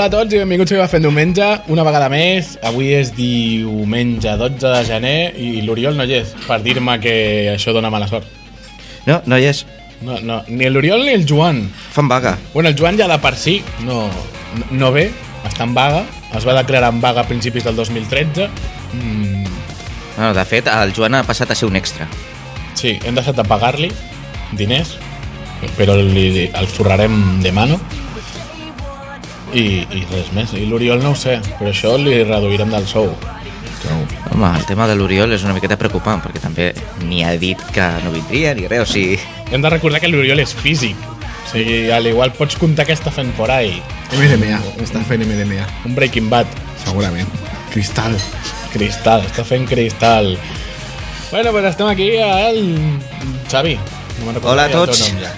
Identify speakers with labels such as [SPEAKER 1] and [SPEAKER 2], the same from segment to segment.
[SPEAKER 1] a tots i benvinguts a Fent Diumenge, una vegada més. Avui és diumenge 12 de gener i l'Oriol no hi és per dir-me que això dona mala sort.
[SPEAKER 2] No, no hi és.
[SPEAKER 1] No, no, ni l'Oriol ni el Joan.
[SPEAKER 2] Fan vaga.
[SPEAKER 1] Bueno, el Joan ja de per si no, no- no ve, està en vaga, es va declarar en vaga a principis del 2013. Mm,
[SPEAKER 2] Bueno, de fet, el Joan ha passat a ser un extra.
[SPEAKER 1] sí, hem deixat de pagar-li diners, però li, el forrarem de mano. I, i res més. I l'Oriol no ho sé, però això li reduirem del sou.
[SPEAKER 2] Home, el tema de l'Oriol és una miqueta preocupant, perquè també ni ha dit que no vindria ni res, o sigui...
[SPEAKER 1] Hem de recordar que l'Oriol és físic. O sigui, al igual pots comptar que està fent por ahí.
[SPEAKER 3] MDMA, està fent MDMA,
[SPEAKER 1] Un Breaking Bad.
[SPEAKER 3] segurament. Cristal.
[SPEAKER 1] Cristal, està fent cristal. Bueno, pues estem aquí al... Xavi. No me'n recordo
[SPEAKER 2] Hola a
[SPEAKER 1] el teu
[SPEAKER 2] tots.
[SPEAKER 1] nom ja.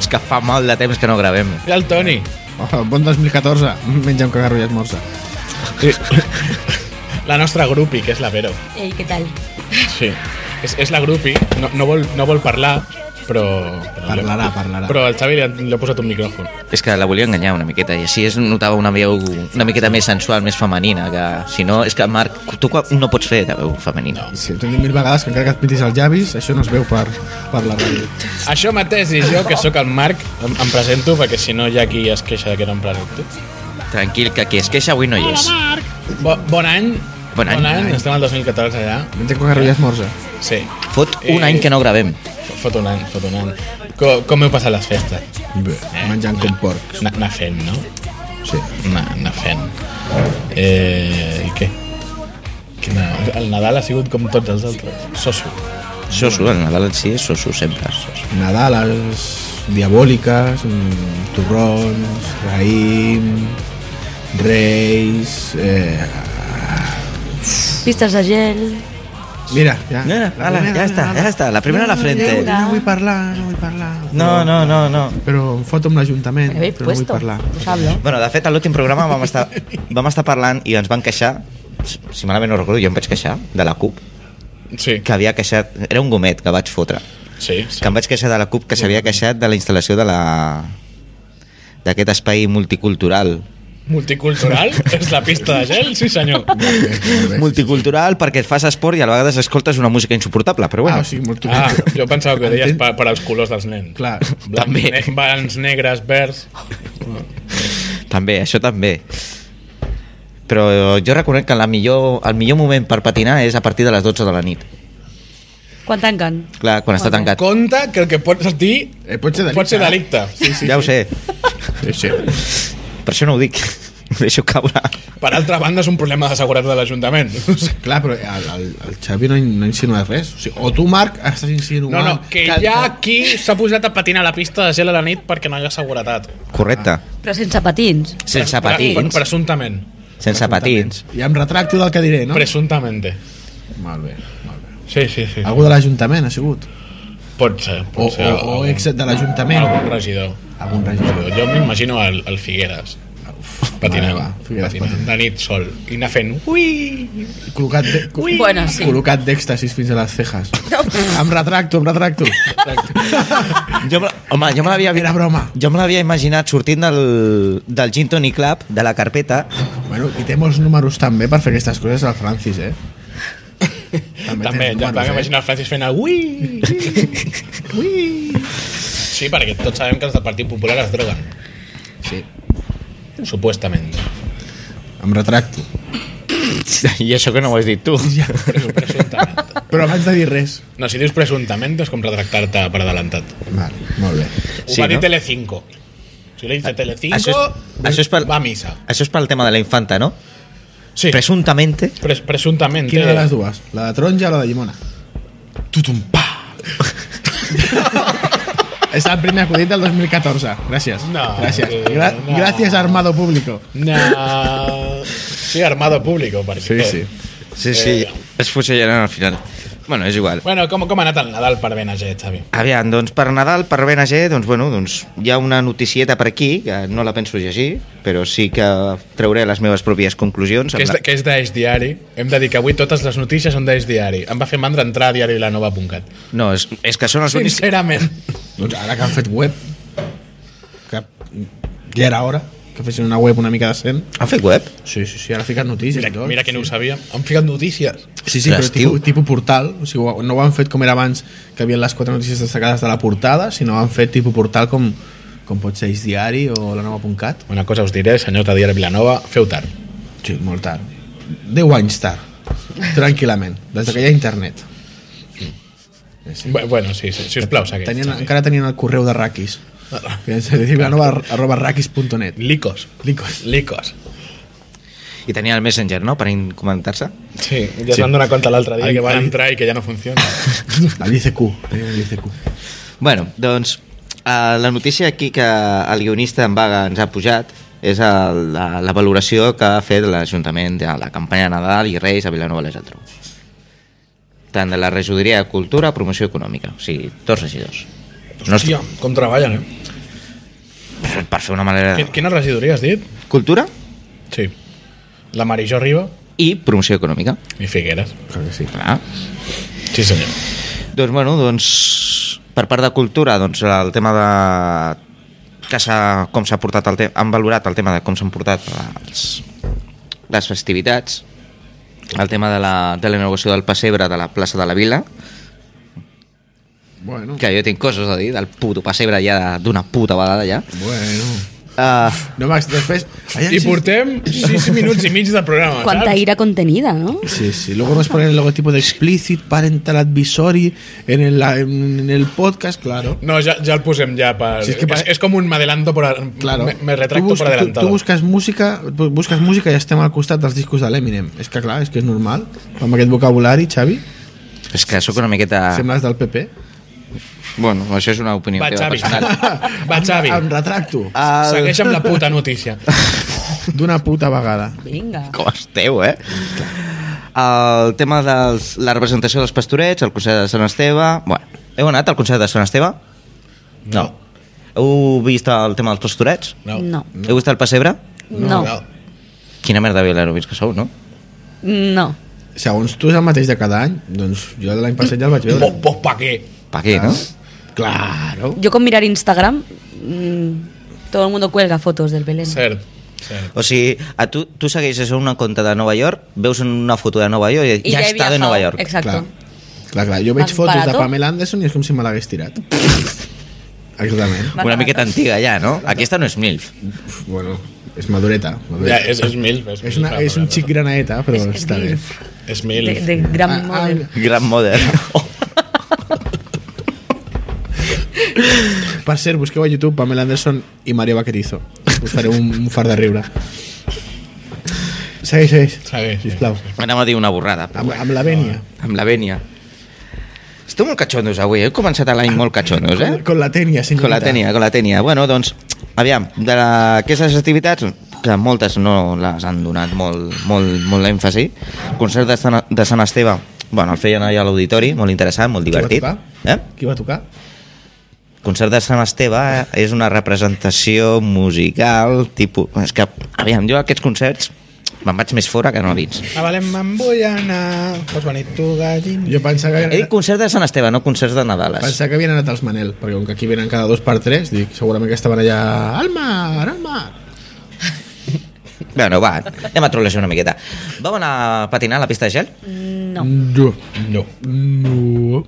[SPEAKER 2] És que fa molt de temps que no gravem.
[SPEAKER 1] I el Toni.
[SPEAKER 3] Oh, bon 2014, menja un cagarro i esmorza.
[SPEAKER 1] La nostra grupi, que és la Vero.
[SPEAKER 4] Ei, què tal?
[SPEAKER 1] Sí. És, és la grupi, no, no, vol, no vol parlar, però... però
[SPEAKER 3] Parlarà, parlarà.
[SPEAKER 1] Però al Xavi li ha- li ha posat un micròfon.
[SPEAKER 2] És que la volia enganyar una miqueta, i així es notava una veu una miqueta més sensual, més femenina, que si no... És que, Marc, tu qua- no pots fer de veu femenina.
[SPEAKER 3] Si t'ho dic mil vegades que encara que et pintis els llavis, això no es veu per, per la ràdio.
[SPEAKER 1] Això mateix, i jo, que sóc el Marc, em, em presento, perquè si no hi ha qui es queixa de que no em presento.
[SPEAKER 2] Tranquil, que qui es queixa avui no hi és.
[SPEAKER 1] Bo, bon any.
[SPEAKER 2] Bon any.
[SPEAKER 1] Bon any. Estem al 2014 ja.
[SPEAKER 3] Menja un cagarro i esmorza.
[SPEAKER 1] Sí.
[SPEAKER 2] Fot un any que no gravem.
[SPEAKER 1] Fot un any, fot un any. Com, com heu passat les festes?
[SPEAKER 3] Bé, menjant com porc.
[SPEAKER 1] Na- Anar fent, no?
[SPEAKER 3] Sí.
[SPEAKER 1] Anar, anar fent. Eh, I què? Que no, el Nadal ha sigut com tots els altres. Soso.
[SPEAKER 2] Soso, el Nadal en si és soso, sempre. Soso.
[SPEAKER 3] Nadales, diabòliques, mm, torrons, raïm, reis... Eh...
[SPEAKER 4] Pistes de gel.
[SPEAKER 3] Mira, ja.
[SPEAKER 2] No, no,
[SPEAKER 3] La
[SPEAKER 2] ala,
[SPEAKER 3] primera,
[SPEAKER 2] ja està,
[SPEAKER 3] ala.
[SPEAKER 2] ja està, la primera a la
[SPEAKER 3] No,
[SPEAKER 2] frente.
[SPEAKER 3] No, no, no vull parlar, no vull parlar.
[SPEAKER 2] No, no, no, no.
[SPEAKER 3] Però em foto amb l'Ajuntament,
[SPEAKER 4] Me habéis
[SPEAKER 3] però no vull
[SPEAKER 4] puesto.
[SPEAKER 3] parlar.
[SPEAKER 4] Us hablo.
[SPEAKER 2] Bueno, de fet, a l'últim programa vam estar, vam estar parlant i ens van queixar, si malament no recordo, jo em vaig queixar, de la CUP,
[SPEAKER 1] Sí,
[SPEAKER 2] que havia queixat, era un gomet que vaig fotre,
[SPEAKER 1] sí, sí.
[SPEAKER 2] que em vaig queixar de la CUP que s'havia queixat de la instal·lació de la d'aquest espai multicultural.
[SPEAKER 1] Multicultural és la pista de gel, sí senyor.
[SPEAKER 2] Multicultural perquè et fas esport i a vegades escoltes una música insuportable, però bueno.
[SPEAKER 3] Ah, o sigui, molt
[SPEAKER 1] Ah, jo pensava que ho deies
[SPEAKER 3] Entén-
[SPEAKER 1] per, per als colors dels nens.
[SPEAKER 3] Clar.
[SPEAKER 1] Blanc,
[SPEAKER 2] També.
[SPEAKER 1] ne- Blancs, negres, verds...
[SPEAKER 2] També, això també. Però jo reconec que la millor, el millor moment per patinar és a partir de les 12 de la nit.
[SPEAKER 4] Quan tanquen?
[SPEAKER 2] Clar, quan està tancat.
[SPEAKER 1] Compte que el que pot sortir
[SPEAKER 3] Eh, pot ser delicte.
[SPEAKER 1] pot ser delicte. Sí, sí.
[SPEAKER 2] Ja ho sé,
[SPEAKER 3] Sí, sí.
[SPEAKER 2] per això no ho dic. Ho deixo caure.
[SPEAKER 1] Per altra banda, és un problema de seguretat de l'Ajuntament.
[SPEAKER 3] Clar, però el, el, el Xavi no, no ha insinuat res. O, sigui, o tu, Marc, estàs
[SPEAKER 1] No,
[SPEAKER 3] insinuant...
[SPEAKER 1] no, que hi ha qui s'ha posat a patinar a la pista de gel a la nit perquè no hi ha seguretat.
[SPEAKER 2] Correcte.
[SPEAKER 4] Però sense patins.
[SPEAKER 2] Sense
[SPEAKER 1] Pre- pre-
[SPEAKER 2] patins.
[SPEAKER 1] Presumptament.
[SPEAKER 2] Sense patins.
[SPEAKER 3] Ja em retracto del que diré, no?
[SPEAKER 1] Presumptamente.
[SPEAKER 3] Molt bé, molt bé.
[SPEAKER 1] Sí, sí, sí.
[SPEAKER 3] Algú de l'Ajuntament ha sigut?
[SPEAKER 1] Pot ser.
[SPEAKER 3] Ah. O,
[SPEAKER 1] Pot ser
[SPEAKER 3] o, o
[SPEAKER 1] algun-
[SPEAKER 3] ex de l'Ajuntament?
[SPEAKER 1] Algun regidor.
[SPEAKER 3] Algun regidor.
[SPEAKER 1] Jo m'imagino el, el Figueres. Patinant,
[SPEAKER 3] va, Figueres
[SPEAKER 1] patinant.
[SPEAKER 3] patinant.
[SPEAKER 1] De nit sol. I anar fent... Ui!
[SPEAKER 3] Col·locat de- co-
[SPEAKER 4] Bueno, sí.
[SPEAKER 3] Col·locat d'èxtasis fins a les cejas. Em retracto, em retracto.
[SPEAKER 2] Jo, me- home, jo me l'havia
[SPEAKER 3] Era broma.
[SPEAKER 2] jo me l'havia imaginat sortint del, del Gin Tony Club, de la carpeta,
[SPEAKER 3] Bueno, i té molts números també per fer aquestes coses al Francis, eh?
[SPEAKER 1] També,
[SPEAKER 3] té
[SPEAKER 1] ja
[SPEAKER 3] números, eh?
[SPEAKER 1] em imagino el Francis fent el ui, ui, ui. Sí, perquè tots sabem que els del Partit Popular es droguen,
[SPEAKER 3] Sí,
[SPEAKER 1] supuestament.
[SPEAKER 3] em retracto.
[SPEAKER 2] i això que no ho has dit tu.
[SPEAKER 1] Presu- Presumptament.
[SPEAKER 3] Però abans de dir res.
[SPEAKER 1] No, si dius presumptament és com retractar-te per adelantat.
[SPEAKER 3] Vale, molt bé.
[SPEAKER 1] Ho
[SPEAKER 2] Sí,
[SPEAKER 1] va dir
[SPEAKER 2] no? Ah,
[SPEAKER 1] Telecinco. Si li dice Telecinco, mm,
[SPEAKER 2] Això és- això és per-
[SPEAKER 1] va a missa.
[SPEAKER 2] Això és pel tema de la infanta, no?
[SPEAKER 1] Sí,
[SPEAKER 2] Presuntamente.
[SPEAKER 1] pres eh? presumptament.
[SPEAKER 3] Quina de les dues? La de taronja o la de llimona? Tutum, pa! És el primer acudit del 2014. Gràcies.
[SPEAKER 1] No,
[SPEAKER 3] Gràcies.
[SPEAKER 1] eh,
[SPEAKER 3] Gra
[SPEAKER 1] no.
[SPEAKER 3] Gràcies, armado público.
[SPEAKER 1] No. Sí, armado público, perquè...
[SPEAKER 2] Sí, sí, es fusillaran al final. Bueno, és igual.
[SPEAKER 1] Bueno, com, com ha anat el Nadal per Benager, Xavi?
[SPEAKER 2] Aviam, doncs per Nadal, per BNG, doncs, bueno, doncs, hi ha una noticieta per aquí, que no la penso llegir, però sí que trauré les meves pròpies conclusions.
[SPEAKER 1] Que és,
[SPEAKER 2] amb
[SPEAKER 1] de, que és d'Eix Diari. Hem de dir que avui totes les notícies són d'Eix Diari. Em va fer mandra entrar a diarilanova.cat.
[SPEAKER 2] la... No, és, és que són els únics...
[SPEAKER 1] Sincerament.
[SPEAKER 3] Doncs ara que han fet web, que ja era hora, que fessin una web una mica decent.
[SPEAKER 2] Han fet web?
[SPEAKER 3] Sí, sí, sí, ara fiquen notícies.
[SPEAKER 1] Mira,
[SPEAKER 3] i tot.
[SPEAKER 1] mira que no ho sabíem. Han ficat notícies.
[SPEAKER 3] Sí, sí, però
[SPEAKER 2] Ostres, tio.
[SPEAKER 3] tipus, tipus portal. O sigui, ho- no ho han fet com era abans, que hi havia les quatre notícies destacades de la portada, sinó han fet tipus portal com, com pot ser Eix Diari o la nova.cat.
[SPEAKER 1] Una cosa us diré, senyor Tadier Vilanova, feu tard.
[SPEAKER 3] Sí, molt tard. 10 anys tard, tranquil·lament, des que hi ha internet.
[SPEAKER 1] Bé, bueno, sí, sí, sisplau, segueix.
[SPEAKER 3] Tenien, encara tenien el correu de raquis. Que és Vilanova arroba raquis.net.
[SPEAKER 1] Licos. Licos. Licos.
[SPEAKER 2] I tenia el Messenger, no?, per incomentar-se.
[SPEAKER 1] Sí, ja sí. s'han donat compte l'altre dia
[SPEAKER 3] Ahí-
[SPEAKER 1] que van
[SPEAKER 3] ahí-
[SPEAKER 1] entrar i que ja no funciona.
[SPEAKER 3] El ICQ. tenien El ICQ.
[SPEAKER 2] Bueno, doncs, eh, la notícia aquí que el guionista en vaga ens ha pujat és el, la, la valoració que ha fet l'Ajuntament de la campanya de Nadal i Reis a Vilanova i la Geltrú. Tant de la regidoria de Cultura, Promoció Econòmica. O sigui, dos regidors. No és-
[SPEAKER 1] Hòstia, com treballen, eh?
[SPEAKER 2] per, per fer una manera...
[SPEAKER 1] Qui- Quina regidoria has dit?
[SPEAKER 2] Cultura
[SPEAKER 1] Sí. La Marijó Riba
[SPEAKER 2] i Promoció Econòmica.
[SPEAKER 1] i Figueres.
[SPEAKER 3] Clar que sí.
[SPEAKER 2] Clar.
[SPEAKER 1] Sí, senyor.
[SPEAKER 2] Doncs, bueno, doncs, per part de cultura, doncs, el tema de que s'ha, com s'ha portat el tema, han valorat el tema de com s'han portat els, les festivitats, el tema de la, de la inauguració del pessebre de la plaça de la Vila,
[SPEAKER 3] Bueno,
[SPEAKER 2] que jo tinc coses a dir del puto pessebre ja d'una puta vegada ja.
[SPEAKER 3] bueno.
[SPEAKER 2] Uh,
[SPEAKER 3] No, Max, després... Allà,
[SPEAKER 1] I portem 6 minuts i mig de programa,
[SPEAKER 4] Quanta
[SPEAKER 1] saps?
[SPEAKER 4] ira contenida, ¿no?
[SPEAKER 3] Sí, sí. Luego nos ponen el logotipo de Explicit Parental Advisory en el, en el podcast, claro.
[SPEAKER 1] No, ja, ja el posem ja per...
[SPEAKER 3] Si
[SPEAKER 1] Si
[SPEAKER 3] és
[SPEAKER 1] és,
[SPEAKER 3] que pa-
[SPEAKER 1] és, és com un me adelanto por...
[SPEAKER 3] Claro.
[SPEAKER 1] Me, me
[SPEAKER 3] Tu
[SPEAKER 1] retracto
[SPEAKER 3] bus-
[SPEAKER 1] per
[SPEAKER 3] tu-
[SPEAKER 1] adelantado.
[SPEAKER 3] Tu, busques música, bu- busques música i estem al costat dels discos de l'Eminem. És que clar, és que és normal. Amb aquest vocabulari, Xavi,
[SPEAKER 2] és que sóc una miqueta...
[SPEAKER 3] ah. sembles del PP.
[SPEAKER 2] Bueno, això és una opinió
[SPEAKER 1] Va,
[SPEAKER 2] teva
[SPEAKER 1] Xavi.
[SPEAKER 2] personal.
[SPEAKER 1] Va, Xavi.
[SPEAKER 3] Em retracto.
[SPEAKER 1] Ah.
[SPEAKER 2] El...
[SPEAKER 1] Segueix amb la puta notícia.
[SPEAKER 3] D'una puta vegada.
[SPEAKER 4] Vinga.
[SPEAKER 2] Com esteu, eh? El tema de la representació dels pastorets, el Consell de Sant Esteve... Bueno, heu anat al Consell de Sant Esteve? No. Heu vist el tema dels pastorets?
[SPEAKER 1] No.
[SPEAKER 4] No.
[SPEAKER 2] Heu vist el pessebre?
[SPEAKER 4] No.
[SPEAKER 1] no.
[SPEAKER 2] Quina merda de vilarobins que sou, no?
[SPEAKER 4] No.
[SPEAKER 3] Segons tu és el mateix de cada any, doncs jo l'any passat ja el vaig veure.
[SPEAKER 1] Vos, vos Pues, pa què?
[SPEAKER 2] Pa què, no?
[SPEAKER 3] Claro.
[SPEAKER 4] Yo con mirar Instagram, mm, todo el mundo cuelga fotos del Belén.
[SPEAKER 1] Cert. Cert.
[SPEAKER 2] O sigui, a tu, tu segueixes una conta de Nova York, veus una foto de Nova York i,
[SPEAKER 4] Y
[SPEAKER 2] ja,
[SPEAKER 4] he
[SPEAKER 2] està de
[SPEAKER 4] viajado.
[SPEAKER 2] Nova York.
[SPEAKER 4] Exacto.
[SPEAKER 3] Clar, clar, clar. Jo veig
[SPEAKER 4] Más
[SPEAKER 3] fotos de
[SPEAKER 4] barato.
[SPEAKER 3] Pamela Anderson i és com si me l'hagués tirat. Exactament.
[SPEAKER 4] Más
[SPEAKER 2] Una miqueta
[SPEAKER 4] barato.
[SPEAKER 2] antiga ja, no? Aquesta no és MILF.
[SPEAKER 3] Uf, Bueno, és madureta. madureta.
[SPEAKER 1] Ja, és, és mil. És,
[SPEAKER 3] és, una, és un xic granaeta, però
[SPEAKER 4] Es-
[SPEAKER 3] és,
[SPEAKER 4] es
[SPEAKER 3] està bé.
[SPEAKER 4] DIRF,
[SPEAKER 1] És mil.
[SPEAKER 4] de, de
[SPEAKER 3] Ah,
[SPEAKER 4] gran
[SPEAKER 3] ah,
[SPEAKER 4] model.
[SPEAKER 2] Gran model. Oh,
[SPEAKER 3] per cert, busqueu a YouTube Pamela Anderson i Maria Vaquerizo. Us fareu un, un far de riure. Segueix, segueix.
[SPEAKER 1] Segueix,
[SPEAKER 3] Sisplau.
[SPEAKER 2] anem a dir una borrada. però
[SPEAKER 3] Amb, amb la vènia.
[SPEAKER 2] Amb la vènia. Esteu molt catxondos avui, eh? heu començat l'any molt catxondos, eh?
[SPEAKER 3] Con la tènia, senyorita.
[SPEAKER 2] Con la tènia, con la tènia. Bueno, doncs, aviam, d'aquestes activitats, que moltes no les han donat molt, molt, molt l'èmfasi, el concert de Sant, de Sant Esteve, bueno, el feien allà a l'auditori, molt interessant, molt
[SPEAKER 3] Qui va
[SPEAKER 2] divertit.
[SPEAKER 3] tocar?
[SPEAKER 2] Eh?
[SPEAKER 3] Qui va tocar?
[SPEAKER 2] concert de Sant Esteve eh, és una representació musical, tipus... És que, aviam, jo a aquests concerts me'n vaig més fora que no a dins.
[SPEAKER 1] A València em vull anar, pues venit tu, gallin.
[SPEAKER 3] Jo pensava
[SPEAKER 2] He
[SPEAKER 3] que,
[SPEAKER 2] dit concert de Sant Esteve, no concerts de Nadales.
[SPEAKER 3] pensava que havien anat els Manel, perquè com que aquí venen cada dos per tres, dic, segurament que estaven allà al mar, al mar.
[SPEAKER 2] Bueno, va, anem a trolejar una miqueta. Vam anar a patinar a la pista de gel?
[SPEAKER 4] No.
[SPEAKER 3] No.
[SPEAKER 1] No.
[SPEAKER 3] No.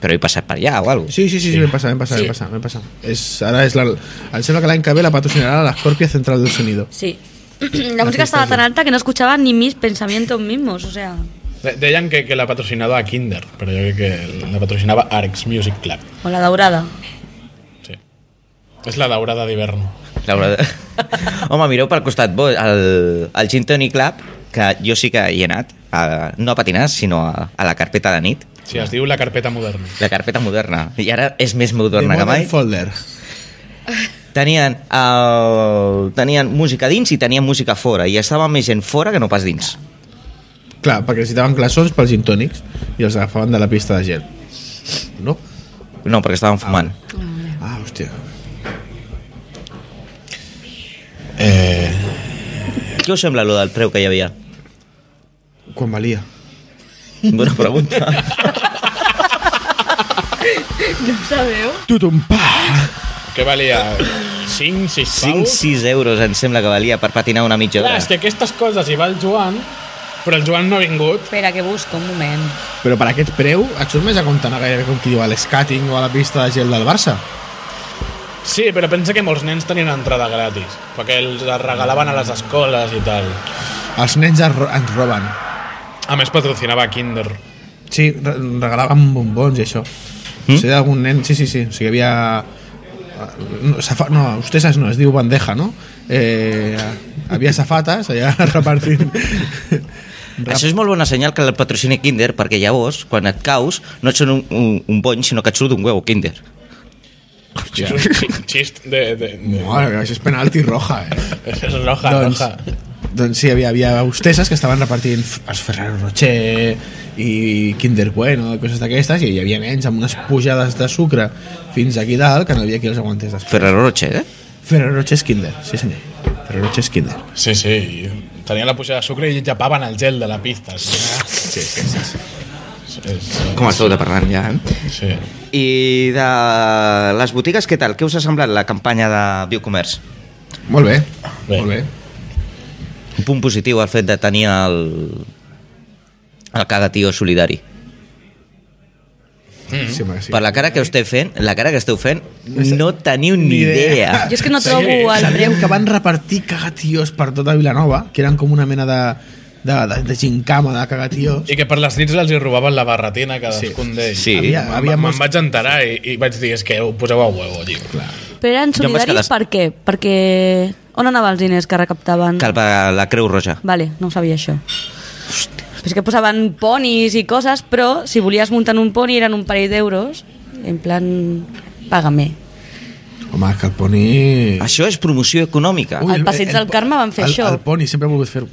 [SPEAKER 2] Però he passat per allà o alguna cosa.
[SPEAKER 3] Sí, sí, sí, sí, m'he passat, m'he passat,
[SPEAKER 4] Sí.
[SPEAKER 3] m'he passat, m'he passat. És, ara és la, em sembla que l'any que ve la patrocinarà l'Escorpia Central del Sonido.
[SPEAKER 4] Sí. La música estaba tan alta que no escuchaba ni mis pensamientos mismos, o sea,
[SPEAKER 1] De- Deien que, que la patrocinava a Kinder, però jo crec que la patrocinava Arx Music Club.
[SPEAKER 4] o la daurada.
[SPEAKER 1] Sí. És la daurada d'hivern.
[SPEAKER 2] La veritat. Home, mireu pel costat bo, el, el Gin Tony Club, que jo sí que hi he anat, a, no a patinar, sinó a, a la carpeta de nit,
[SPEAKER 1] Sí, es diu la carpeta moderna.
[SPEAKER 2] la carpeta moderna. I ara és més moderna
[SPEAKER 3] The
[SPEAKER 2] que mai.
[SPEAKER 3] Modern Folder.
[SPEAKER 2] tenien, el, tenien música dins i tenien música fora i estava més gent fora que no pas dins
[SPEAKER 3] Clar, perquè necessitaven classons pels gintònics i els agafaven de la pista de gel. No?
[SPEAKER 2] no, perquè estaven fumant
[SPEAKER 3] Ah, hòstia.
[SPEAKER 1] Eh...
[SPEAKER 2] què us sembla allò del preu que hi havia?
[SPEAKER 3] Quan valia?
[SPEAKER 2] bona pregunta
[SPEAKER 4] ¿Sabeu?
[SPEAKER 3] Tutum, pa!
[SPEAKER 1] Què valia? 5, 6 paus?
[SPEAKER 2] 5-6 euros em sembla que valia per patinar una mitja
[SPEAKER 1] Clar,
[SPEAKER 2] hora.
[SPEAKER 1] és que aquestes coses hi va el Joan, però el Joan no ha vingut.
[SPEAKER 5] Espera, que busco un moment.
[SPEAKER 3] Però per aquest preu et surt més a compte anar gairebé com qui diu a l'escàting o a la pista de gel del Barça.
[SPEAKER 1] Sí, però pensa que molts nens tenien entrada gratis, perquè els les regalaven a les escoles i tal.
[SPEAKER 3] Els nens ens ro- ens roben.
[SPEAKER 1] A més, patrocinava Kinder.
[SPEAKER 3] Sí, re- regalaven bombons i això. Mm?
[SPEAKER 1] Hmm?
[SPEAKER 3] Si algun nen... Sí, sí, sí. O sigui, hi havia... eh, No, safa... no, ustedes no, es diu bandeja, no? Eh, hi havia safates allà repartint...
[SPEAKER 2] Això és molt bon senyal que el patrocini Kinder, perquè llavors, quan et caus, no et surt un, un, un bony, sinó que et surt un huevo Kinder.
[SPEAKER 1] És un xi- xist de... de, de...
[SPEAKER 3] Mare, meva, això és penalti roja, eh?
[SPEAKER 1] És roja,
[SPEAKER 3] doncs,
[SPEAKER 1] roja.
[SPEAKER 3] doncs sí, hi havia, hi havia hosteses que estaven repartint f- els Ferrero Rocher i Kinder Bueno, coses d'aquestes, i hi havia nens amb unes pujades de sucre fins aquí dalt que no hi havia qui els aguantés després.
[SPEAKER 2] Ferrero Rocher, eh?
[SPEAKER 3] Ferrero Rocher és Kinder, sí senyor. Ferrero Rocher és Kinder.
[SPEAKER 1] Sí, sí, i tenien la puja de sucre i llapaven el gel de la pista. Sí, sí, sí. sí. És,
[SPEAKER 2] Com esteu de parlant ja, eh?
[SPEAKER 1] sí.
[SPEAKER 2] I de les botigues, què tal? Què us ha semblat la campanya de Biocomerç?
[SPEAKER 3] Molt bé,
[SPEAKER 1] Bé.
[SPEAKER 3] bé. molt bé.
[SPEAKER 2] Un punt positiu el fet de tenir el, el cagatió solidari.
[SPEAKER 4] Mm.
[SPEAKER 3] Sí, home, sí.
[SPEAKER 2] Per la cara que esteu fent, la cara que esteu fent, no teniu ni idea.
[SPEAKER 4] Jo és que no
[SPEAKER 1] Sí.
[SPEAKER 4] trobo el preu.
[SPEAKER 3] Sabíem que van repartir cagatiós per tota Vilanova, que eren com una mena de, de, de, de gincama de cagatiós.
[SPEAKER 1] I que per les nits els hi robaven la barretina a cadascun d'ells.
[SPEAKER 2] Sí.
[SPEAKER 1] Me'n-
[SPEAKER 3] Havia, havia
[SPEAKER 1] Me'n
[SPEAKER 3] molts...
[SPEAKER 1] vaig enterar i, i vaig dir, és que ho poseu a huevo, tio. Clar.
[SPEAKER 4] Però eren
[SPEAKER 2] Jo em vaig
[SPEAKER 4] solidaris
[SPEAKER 2] quedar-
[SPEAKER 4] per què? Perquè... On anaven els diners que recaptaven?
[SPEAKER 2] Que el va- la Creu Roja.
[SPEAKER 4] Vale, no ho sabia això. Però és que posaven ponis i coses, però si volies muntar en un poni eren un parell d'euros, en plan, paga-me.
[SPEAKER 3] Home, que el poni...
[SPEAKER 2] Això és promoció econòmica.
[SPEAKER 4] Al passeig del Carme van fer
[SPEAKER 3] el,
[SPEAKER 4] això.
[SPEAKER 3] El poni sempre ha volgut fer-ho.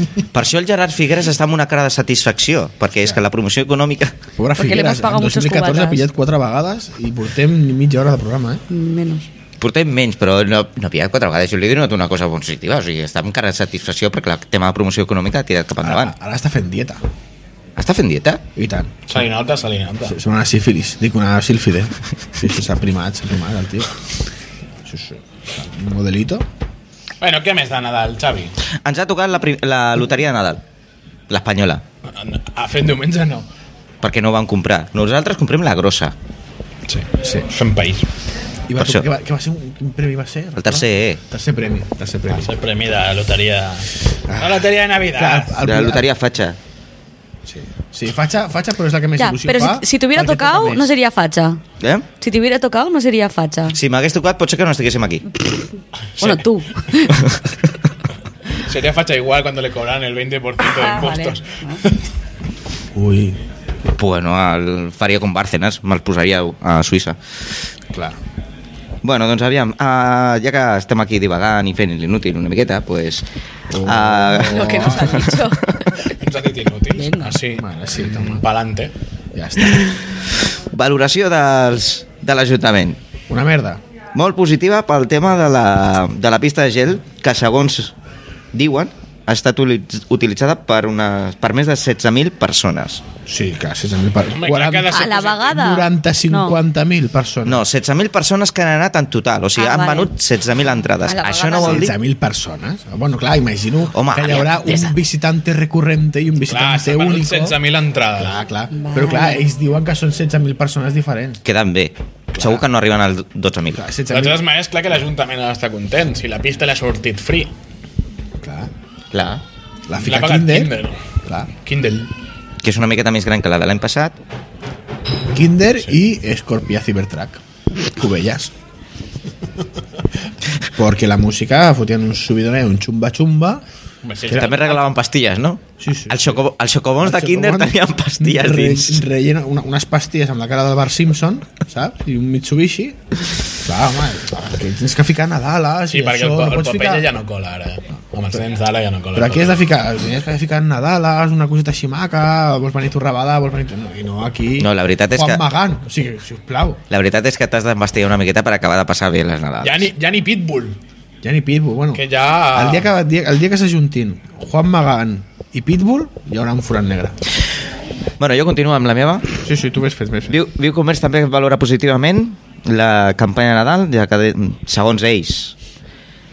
[SPEAKER 2] Per això el Gerard Figueres està amb una cara de satisfacció, perquè és que la promoció econòmica...
[SPEAKER 3] Pobre
[SPEAKER 4] Perquè li
[SPEAKER 3] Figueres, eh?
[SPEAKER 4] hemos pagado
[SPEAKER 3] en
[SPEAKER 4] muchos
[SPEAKER 3] 2014 ha
[SPEAKER 4] cubatas.
[SPEAKER 3] pillat quatre vegades i portem ni mitja hora de programa, eh?
[SPEAKER 4] Menos.
[SPEAKER 2] Portem menys, però no, no ha pillat quatre vegades. Jo li he donat una cosa positiva, o sigui, està amb cara de satisfacció perquè el tema de promoció econòmica ha tirat cap endavant.
[SPEAKER 3] Ara, ara està fent dieta,
[SPEAKER 2] Està fent dieta?
[SPEAKER 3] i tant.
[SPEAKER 1] Se li nota, se li nota. Sí.
[SPEAKER 3] Sembla una sífilis, dic una sílfide. Sí, sí, s'ha primat, s'ha primat el tio. Sí, sí. Un modelito.
[SPEAKER 1] Bueno, què més de Nadal, Xavi?
[SPEAKER 2] Ens ha tocat la, pri- la loteria de Nadal, l'espanyola,
[SPEAKER 1] A fent diumenge no.
[SPEAKER 2] perquè no van comprar. Nosaltres comprem la grossa,
[SPEAKER 1] Sí.
[SPEAKER 3] Sí.
[SPEAKER 1] Fem país.
[SPEAKER 3] I va,
[SPEAKER 2] Per això.
[SPEAKER 3] que, va, que va ser un, quin premi va ser?
[SPEAKER 2] el tercer...
[SPEAKER 3] Tercer premi, tercer premi.
[SPEAKER 1] És el premi de loteria... Ah. La loteria de Navidad.
[SPEAKER 3] Clar,
[SPEAKER 2] El E, de la loteria fatxa.
[SPEAKER 3] Sí, sí facha, facha, però és la que més
[SPEAKER 4] Ja,
[SPEAKER 3] il·lusió
[SPEAKER 4] però
[SPEAKER 3] fa.
[SPEAKER 4] si, si t'hubiera
[SPEAKER 3] perquè toca
[SPEAKER 4] tocado,
[SPEAKER 3] més.
[SPEAKER 4] no seria fatxa.
[SPEAKER 2] Eh?
[SPEAKER 4] Si t'hubiera tocado, no seria fatxa.
[SPEAKER 2] Si m'hagués tocat, potser que no estiguéssim aquí.
[SPEAKER 4] Bueno, tu.
[SPEAKER 1] Sería facha igual cuando le cobraran el 20% de
[SPEAKER 4] Ah, vale.
[SPEAKER 1] impuestos.
[SPEAKER 3] Ui,
[SPEAKER 2] Bueno, el faria com Bárcenas, me'l posaria a Suïssa.
[SPEAKER 3] clar.
[SPEAKER 2] Bueno, doncs aviam, uh, ja que estem aquí divagant i fent l'inútil una miqueta, pues, uh,
[SPEAKER 4] Oh. Lo que nos han dicho.
[SPEAKER 1] Ens ha dit inútils.
[SPEAKER 4] Vinga.
[SPEAKER 1] Així,
[SPEAKER 3] Mare, sí, toma.
[SPEAKER 1] pa'lante.
[SPEAKER 3] Ja està.
[SPEAKER 2] valoració dels, de l'Ajuntament.
[SPEAKER 3] Una merda.
[SPEAKER 2] Molt positiva pel tema de la, de la pista de gel, que segons diuen ha estat ulit- utilitzada per, una, per més de 16.000 persones.
[SPEAKER 3] Sí, clar, 16.000 per...
[SPEAKER 1] Home, clar que ha de ser
[SPEAKER 4] A la
[SPEAKER 1] positiu.
[SPEAKER 4] vegada.
[SPEAKER 3] 40, 50.000 persones.
[SPEAKER 2] No, 16.000 persones que han anat en total, o sigui,
[SPEAKER 4] Ah,
[SPEAKER 2] han
[SPEAKER 4] vale.
[SPEAKER 2] venut 16.000 entrades.
[SPEAKER 4] A la
[SPEAKER 2] Això no
[SPEAKER 4] vegada
[SPEAKER 2] vol dir...
[SPEAKER 3] 16.000 persones. Bueno, clar, imagino
[SPEAKER 2] Home,
[SPEAKER 3] que hi haurà
[SPEAKER 2] aviam, des de-
[SPEAKER 3] un visitante recurrente i un
[SPEAKER 1] Clar,
[SPEAKER 3] visitante
[SPEAKER 1] s'ha venut
[SPEAKER 3] único.
[SPEAKER 1] 16.000 entrades.
[SPEAKER 3] Clar, clar. Però clar, ells diuen que són 16.000 persones diferents.
[SPEAKER 2] Queden bé. Segur que no arriben als 12.000.
[SPEAKER 3] Clar,
[SPEAKER 1] De
[SPEAKER 3] 16.000...
[SPEAKER 1] totes maneres, clar que l'Ajuntament ha d'estar content si la pista l'ha sortit free.
[SPEAKER 3] Clar.
[SPEAKER 2] Clar.
[SPEAKER 3] La
[SPEAKER 1] L'ha
[SPEAKER 3] fica
[SPEAKER 1] pagat
[SPEAKER 3] Kinder.
[SPEAKER 1] Kinder.
[SPEAKER 3] Clar.
[SPEAKER 1] Kindle.
[SPEAKER 2] Que és una miqueta més gran que la de l'any passat.
[SPEAKER 3] Kinder y Scorpia Cybertruck. Cubellas. Porque la música fotían un subidón, eh, un chumba chumba.
[SPEAKER 1] Home, si
[SPEAKER 2] Que també regalaven pastilles, no?
[SPEAKER 3] Sí, sí.
[SPEAKER 2] El, xoco, el xocobons de
[SPEAKER 3] Això
[SPEAKER 2] Kinder
[SPEAKER 3] com van-
[SPEAKER 2] tenien pastilles
[SPEAKER 3] re-
[SPEAKER 2] dins.
[SPEAKER 3] rellena- una- unes pastilles amb la cara del Bart Simpson, saps? I un Mitsubishi. Clar, home, que tens que ficar Nadales
[SPEAKER 1] Sí,
[SPEAKER 3] i
[SPEAKER 1] perquè
[SPEAKER 3] això,
[SPEAKER 1] el,
[SPEAKER 3] no
[SPEAKER 1] pa- el
[SPEAKER 3] pots
[SPEAKER 1] paper
[SPEAKER 3] ficar...
[SPEAKER 1] ja no cola ara. Amb els nens d'ara ja no cola.
[SPEAKER 3] Però aquí has de ficar, has de ficar Nadales, una coseta així maca, vols venir torrebada, vols venir... No, I no aquí...
[SPEAKER 2] No, la veritat és
[SPEAKER 3] Juan
[SPEAKER 2] que-
[SPEAKER 3] Magán, o sigui, sisplau.
[SPEAKER 2] La veritat és que t'has d'embastir una miqueta per acabar de passar bé les Nadals.
[SPEAKER 1] Ja ni, ja ni Pitbull,
[SPEAKER 3] Ja ni Pitbull, bueno.
[SPEAKER 1] que ja...
[SPEAKER 3] El dia que, el dia, el dia que s'ajuntin Juan Magán i Pitbull, hi haurà un forat negre.
[SPEAKER 2] Bueno, jo continuo amb la meva.
[SPEAKER 3] Sí, sí, tu m'has fet més.
[SPEAKER 2] Viu, Viu Comerç també valora positivament la campanya Nadal, ja que, de- segons ells,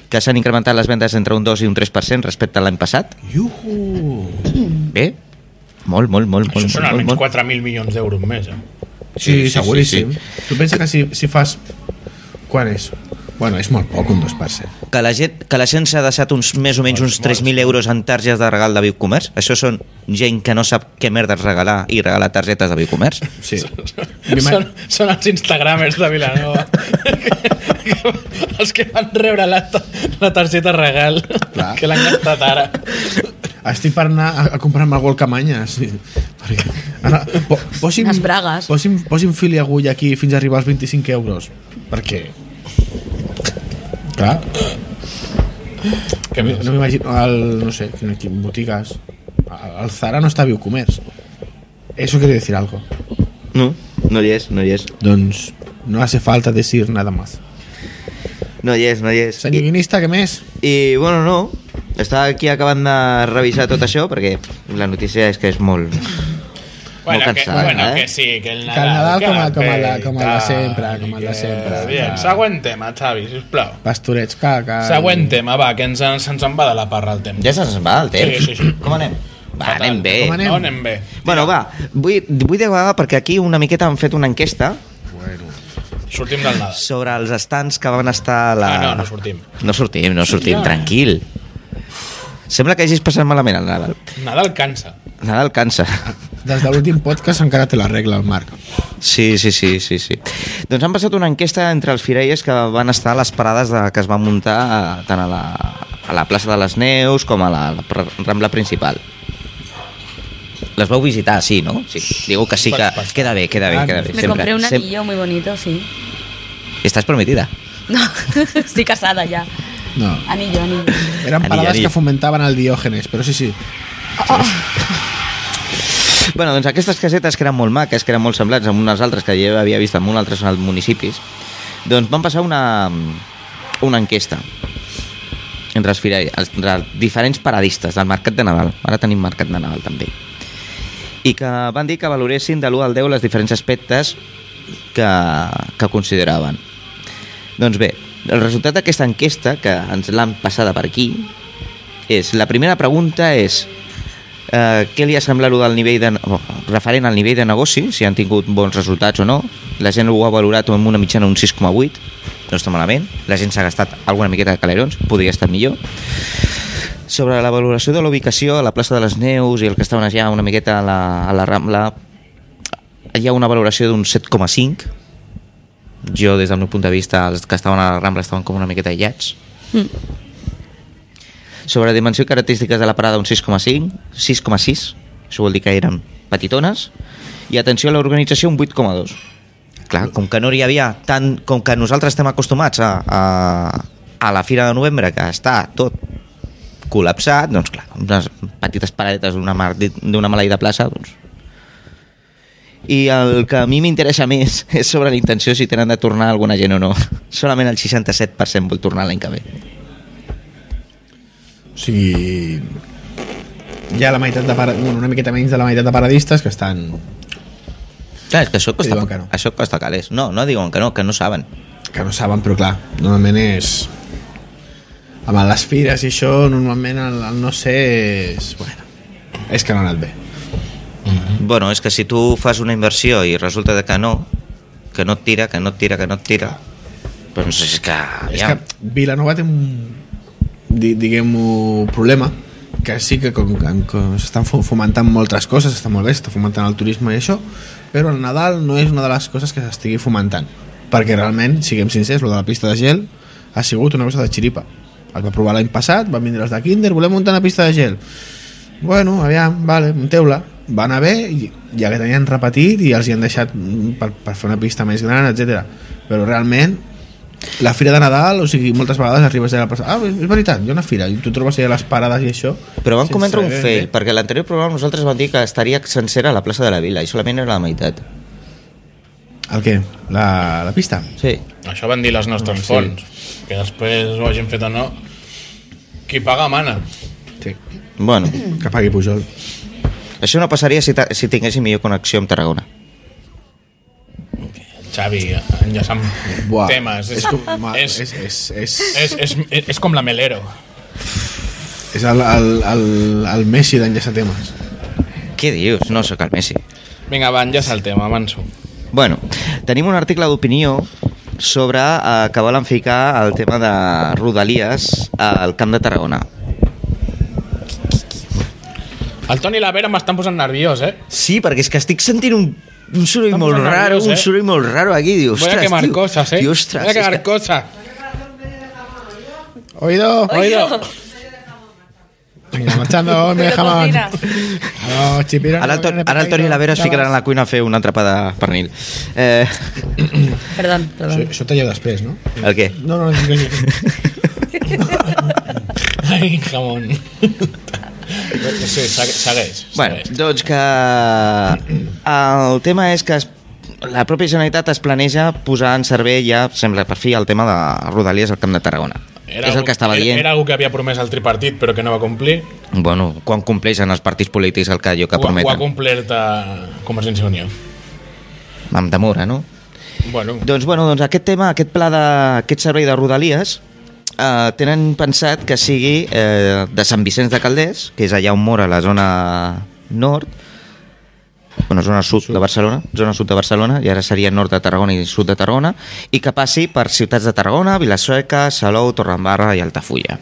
[SPEAKER 2] que s'han incrementat les vendes entre un 2 i un 3% respecte a l'any passat.
[SPEAKER 3] Iuhu!
[SPEAKER 2] Bé, molt, molt, molt,
[SPEAKER 1] Això
[SPEAKER 2] molt,
[SPEAKER 1] són
[SPEAKER 2] molt,
[SPEAKER 1] almenys
[SPEAKER 2] molt.
[SPEAKER 1] 4.000 milions d'euros més, eh?
[SPEAKER 3] Sí,
[SPEAKER 2] Sí, sí,
[SPEAKER 3] seguríssim.
[SPEAKER 2] sí,
[SPEAKER 3] Tu pensa que si, si fas... Quan és? Bueno, és molt poc, un 2%.
[SPEAKER 2] Que la, gent, que la gent s'ha deixat uns, més o menys uns 3.000 euros en targetes de regal de Viu Comerç. Això són gent que no sap què merda és regalar i regalar targetes de Viu Comerç.
[SPEAKER 3] Sí. Mi ma-
[SPEAKER 1] Són, són els instagramers de Vilanova. els que van rebre la, ta- la targeta regal
[SPEAKER 3] Clar.
[SPEAKER 1] que l'han gastat ara.
[SPEAKER 3] Estic per anar a, a comprar-me algú al Camanya. Sí. Perquè, ara, po, posi'm,
[SPEAKER 4] Unes bragues.
[SPEAKER 3] Posi'm, posi'm fil i agulla aquí fins a arribar als 25 euros. Perquè... Clar,
[SPEAKER 1] Que
[SPEAKER 3] no, no m'imagino... El, no sé, quin, quin botigues... El el Zara no està a Biocomerç. Eso quiere decir algo.
[SPEAKER 2] No, no hi és, no hi és.
[SPEAKER 3] Doncs no hace falta decir nada más.
[SPEAKER 2] No hi és, no hi és.
[SPEAKER 3] Senyor guionista, què més?
[SPEAKER 2] I, bueno, no, estava aquí acabant de revisar tot això perquè la notícia és que és molt...
[SPEAKER 1] Bueno,
[SPEAKER 2] molt
[SPEAKER 1] que,
[SPEAKER 2] cansada,
[SPEAKER 1] bueno
[SPEAKER 2] eh?
[SPEAKER 1] que sí, que el
[SPEAKER 3] Que el
[SPEAKER 1] Nadal...
[SPEAKER 3] Nadal com a-
[SPEAKER 1] que
[SPEAKER 3] com a la-
[SPEAKER 1] bé,
[SPEAKER 3] com a la
[SPEAKER 1] i tal,
[SPEAKER 3] sempre, com a
[SPEAKER 1] i
[SPEAKER 3] la
[SPEAKER 1] que-
[SPEAKER 3] sempre,
[SPEAKER 1] Bien,
[SPEAKER 3] clar.
[SPEAKER 1] següent tema, Xavi, sisplau.
[SPEAKER 3] Pastorets, que... que...
[SPEAKER 1] Següent tema, va, que ens, se'ns en va de la parra el temps.
[SPEAKER 2] Ja se'ns va el temps.
[SPEAKER 1] Sí, sí, sí.
[SPEAKER 2] Com anem? Va,
[SPEAKER 1] Fatal.
[SPEAKER 2] anem bé.
[SPEAKER 3] Com anem?
[SPEAKER 1] No anem bé.
[SPEAKER 2] Bueno, va, vull, vull divagar perquè aquí una miqueta han fet una enquesta
[SPEAKER 1] Sortim del Nadal.
[SPEAKER 2] sobre els estants que van estar a la...
[SPEAKER 1] Ah, no, no sortim.
[SPEAKER 2] No sortim, no sortim, tranquil. Sembla que hagis passat malament el Nadal.
[SPEAKER 1] Nadal cansa.
[SPEAKER 2] Nadal cansa.
[SPEAKER 3] Des de l'últim podcast encara té la regla, el Marc.
[SPEAKER 2] Sí, sí, sí, sí, sí. Doncs han passat una enquesta entre els firelles que van estar a les parades de, que es van muntar a- tant a la, a la plaça de les Neus com a la, la Rambla principal. Les vau visitar, sí, no? Sí. Digo que sí que
[SPEAKER 1] Vas passar.
[SPEAKER 2] queda bé, queda bé, queda bé.
[SPEAKER 4] Me compré un
[SPEAKER 2] sem-
[SPEAKER 4] anillo muy bonito, sí.
[SPEAKER 2] Estàs prometida.
[SPEAKER 4] No, estoy casada ya.
[SPEAKER 3] No.
[SPEAKER 4] Anillo, anillo.
[SPEAKER 3] Eren
[SPEAKER 2] Anillo,
[SPEAKER 3] parades
[SPEAKER 2] anillo.
[SPEAKER 3] que fomentaven el diògenes, però sí, sí.
[SPEAKER 2] Bueno, doncs aquestes casetes que eren molt maques, que eren molt semblants a unes altres que ja havia vist en uns altres municipis, doncs van passar una, una enquesta entre els, fira, els, entre els diferents paradistes del mercat de Nadal. Ara tenim mercat de Nadal també. I que van dir que valoressin de l'1 al 10 les diferents aspectes que, que consideraven. Doncs bé, el resultat d'aquesta enquesta, que ens l'han passada per aquí, és... La primera pregunta és... Eh, què li ha semblat lo del nivell de, oh, referent al nivell de negoci, si han tingut bons resultats o no. La gent ho ha valorat amb una mitjana un 6,8, no està malament. La gent s'ha gastat alguna miqueta de calerons, podria estar millor. Sobre la valoració de la ubicació a la plaça de les Neus i el que estaven allà una miqueta a la, a la Rambla, hi ha una valoració d'un 7,5. Jo, des del meu punt de vista, els que estaven a la Rambla estaven com una miqueta aïllats. Sobre dimensió i característiques de la parada, un 6,5, 6,6, això vol dir que eren petitones, i atenció a l'organització, un 8,2. Clar, com que no hi havia tant, com que nosaltres estem acostumats a, a, a la fira de novembre, que està tot col·lapsat, doncs clar, unes petites paradetes d'una mar- d'una maleïda plaça, doncs... I el que a mi m'interessa més és sobre la intenció si tenen de tornar alguna gent o no. Solament el 67% vol tornar l'any que ve.
[SPEAKER 3] O sigui... Hi ha la meitat de... Para... Bueno, una miqueta menys de la meitat de paradistes que estan...
[SPEAKER 2] Clar, és que això costa,
[SPEAKER 3] diuen
[SPEAKER 2] que
[SPEAKER 3] que
[SPEAKER 2] no.
[SPEAKER 3] no.
[SPEAKER 2] això costa calés. No, no diuen que no, que no saben.
[SPEAKER 3] que no saben, però clar, normalment és... Amb les fires i això, normalment el, el no sé és... Bueno, és que no ha anat bé.
[SPEAKER 2] Bueno, és que si tu fas una inversió i resulta de que no, que no et tira, que no et tira, que no et tira, doncs és que...
[SPEAKER 3] És
[SPEAKER 2] Ja,
[SPEAKER 3] que Vilanova té un, di- diguem-ho, problema que sí que com, que, que s'estan fo- fomentant moltes coses, està molt bé, s'està fomentant el turisme i això, però el Nadal no és una de les coses que s'estigui fomentant perquè realment, siguem sincers, lo de la pista de gel ha sigut una cosa de xiripa es va provar l'any passat, van vindre els de Kinder volem muntar una pista de gel bueno, aviam, vale, munteu-la va anar bé, i, ja que tenien repetit i els hi han deixat mm, per, per fer una pista més gran, etc. però realment la fira de Nadal, o sigui, moltes vegades arribes a la plaça, ah, és veritat, hi ha una fira i tu trobes allà les parades i això
[SPEAKER 2] Però van
[SPEAKER 3] sense
[SPEAKER 2] cometre un
[SPEAKER 3] saber
[SPEAKER 2] fail,
[SPEAKER 3] bé.
[SPEAKER 2] perquè a l'anterior programa nosaltres vam dir que estaria sencera a la plaça de la Vila i solament era la meitat.
[SPEAKER 3] el què? La, la pista?
[SPEAKER 2] Sí.
[SPEAKER 1] Això van dir les nostres
[SPEAKER 3] Sí.
[SPEAKER 1] fonts. Que després ho hagin fet o no, qui paga mana.
[SPEAKER 3] sí
[SPEAKER 2] Bueno,
[SPEAKER 3] que pagui Pujol
[SPEAKER 2] això no passaria si, ta- si tinguéssim millor connexió amb Tarragona.
[SPEAKER 1] Xavi enllaçant
[SPEAKER 3] Buah,
[SPEAKER 1] temes.
[SPEAKER 3] És, com, ma, és,
[SPEAKER 1] és,
[SPEAKER 3] és, és, és,
[SPEAKER 1] és, és, és, és com la Melero.
[SPEAKER 3] és el, el, el, el Messi d'enllaçar temes.
[SPEAKER 2] Què dius? No sóc el Messi.
[SPEAKER 1] Vinga, va, enllaça el tema, avanço.
[SPEAKER 2] Bueno, tenim un article d'opinió sobre eh, que volen ficar el tema de Rodalies al Camp de Tarragona.
[SPEAKER 1] El Toni i la Vera m'estan posant nerviós, eh?
[SPEAKER 2] Sí, perquè és que estic sentint un, un soroll
[SPEAKER 1] Estan
[SPEAKER 2] molt
[SPEAKER 1] posant
[SPEAKER 2] raro,
[SPEAKER 1] nervios,
[SPEAKER 2] un
[SPEAKER 1] eh?
[SPEAKER 2] soroll molt raro aquí. Diu,
[SPEAKER 1] Voy a
[SPEAKER 2] ostres,
[SPEAKER 1] quemar
[SPEAKER 2] tio,
[SPEAKER 1] cosas, eh?
[SPEAKER 2] tio, ostres,
[SPEAKER 1] Voy a
[SPEAKER 2] és
[SPEAKER 1] quemar
[SPEAKER 2] que-
[SPEAKER 1] cosas.
[SPEAKER 3] Oído.
[SPEAKER 1] Oído.
[SPEAKER 3] Venga, marchando, me
[SPEAKER 4] Pero
[SPEAKER 3] jamón.
[SPEAKER 4] cocina.
[SPEAKER 3] No, chipiro.
[SPEAKER 1] eh,
[SPEAKER 2] Ara el, Toni- ara el Toni i la Vera es ficaran a la cuina a fer una entrepà de pernil. Eh,
[SPEAKER 4] Perdó, perdó.
[SPEAKER 3] Això, això talleu després, no?
[SPEAKER 2] el què?
[SPEAKER 3] No, no, no.
[SPEAKER 1] Ai, jamón. Sí, segue- segueix.
[SPEAKER 2] Bueno,
[SPEAKER 1] segueix.
[SPEAKER 2] doncs que el tema és que es, la pròpia Generalitat es planeja posar en servei ja, sembla per fi, el tema de Rodalies al Camp de Tarragona. és el
[SPEAKER 1] algo-
[SPEAKER 2] que estava
[SPEAKER 1] era-
[SPEAKER 2] dient.
[SPEAKER 1] Era algo que havia promès el tripartit, però que no va complir.
[SPEAKER 2] Bueno, quan compleixen els partits polítics el que allò que
[SPEAKER 1] ho, ho ha
[SPEAKER 2] prometen.
[SPEAKER 1] complert a Convergència i Unió.
[SPEAKER 2] Amb demora, no?
[SPEAKER 1] Bueno,
[SPEAKER 2] Doncs, bueno, doncs aquest tema, aquest pla de, aquest servei de Rodalies, eh, tenen pensat que sigui eh, de Sant Vicenç de Calders, que és allà on mora la zona nord, bueno, zona sud, de Barcelona, zona sud de Barcelona, i ara seria nord de Tarragona i sud de Tarragona, i que passi per ciutats de Tarragona, Vilaseca, Salou, Torrembarra i Altafulla.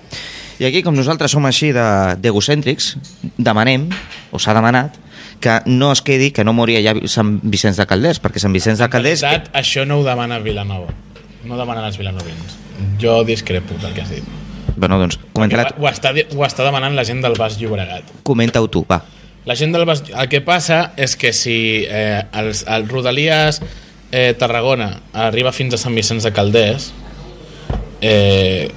[SPEAKER 2] I aquí, com nosaltres som així de- d'egocèntrics, demanem, o s'ha demanat, que no es quedi, que no mori allà Sant Vicenç de Calders, perquè Sant Vicenç de
[SPEAKER 1] en
[SPEAKER 2] Calders...
[SPEAKER 1] realitat, això no ho demana Vilanova. No ho demanen els vilanovins. Jo discrepo del que has dit.
[SPEAKER 2] Bueno, doncs,
[SPEAKER 1] Ho,
[SPEAKER 2] comenta-la-
[SPEAKER 1] ho, està, di- ho està demanant la gent del Baix Llobregat.
[SPEAKER 2] comenta-ho tu, va.
[SPEAKER 1] La gent del Bas... El que passa és que si eh, els, el Rodalies eh, Tarragona arriba fins a Sant Vicenç de Calders, eh,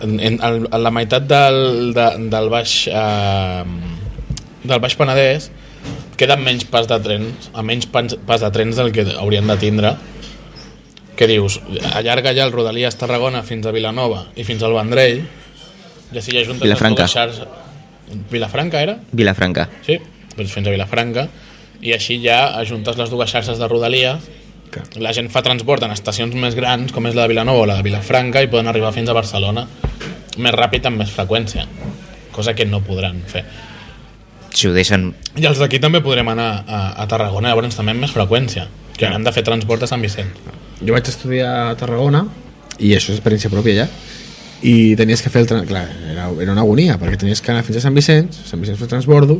[SPEAKER 1] en, en, en la meitat del, de, del Baix... Eh, del Baix Penedès queden menys pas de trens, a menys pas, pas de trens del que haurien de tindre. Què dius? Allarga ja el Rodalies Tarragona fins a Vilanova i fins al Vendrell, i així ja juntes
[SPEAKER 2] Vilafranca.
[SPEAKER 1] les dues xarxes... Vilafranca era?
[SPEAKER 2] Vilafranca.
[SPEAKER 1] Sí, doncs fins a Vilafranca. I així ja ajuntes les dues xarxes de rodalia. La gent fa transport en estacions més grans, com és la de Vilanova o la de Vilafranca, i poden arribar fins a Barcelona més ràpid amb més freqüència, cosa que no podran fer.
[SPEAKER 2] Si ho deixen...
[SPEAKER 1] I els d'aquí també podrem anar a, a Tarragona, llavors també amb més freqüència, que han de fer transport a Sant Vicent.
[SPEAKER 3] Jo vaig estudiar a Tarragona i això és experiència pròpia ja i tenies que fer el tren, clar, era, era una agonia perquè tenies que anar fins a Sant Vicenç Sant Vicenç fer transbordo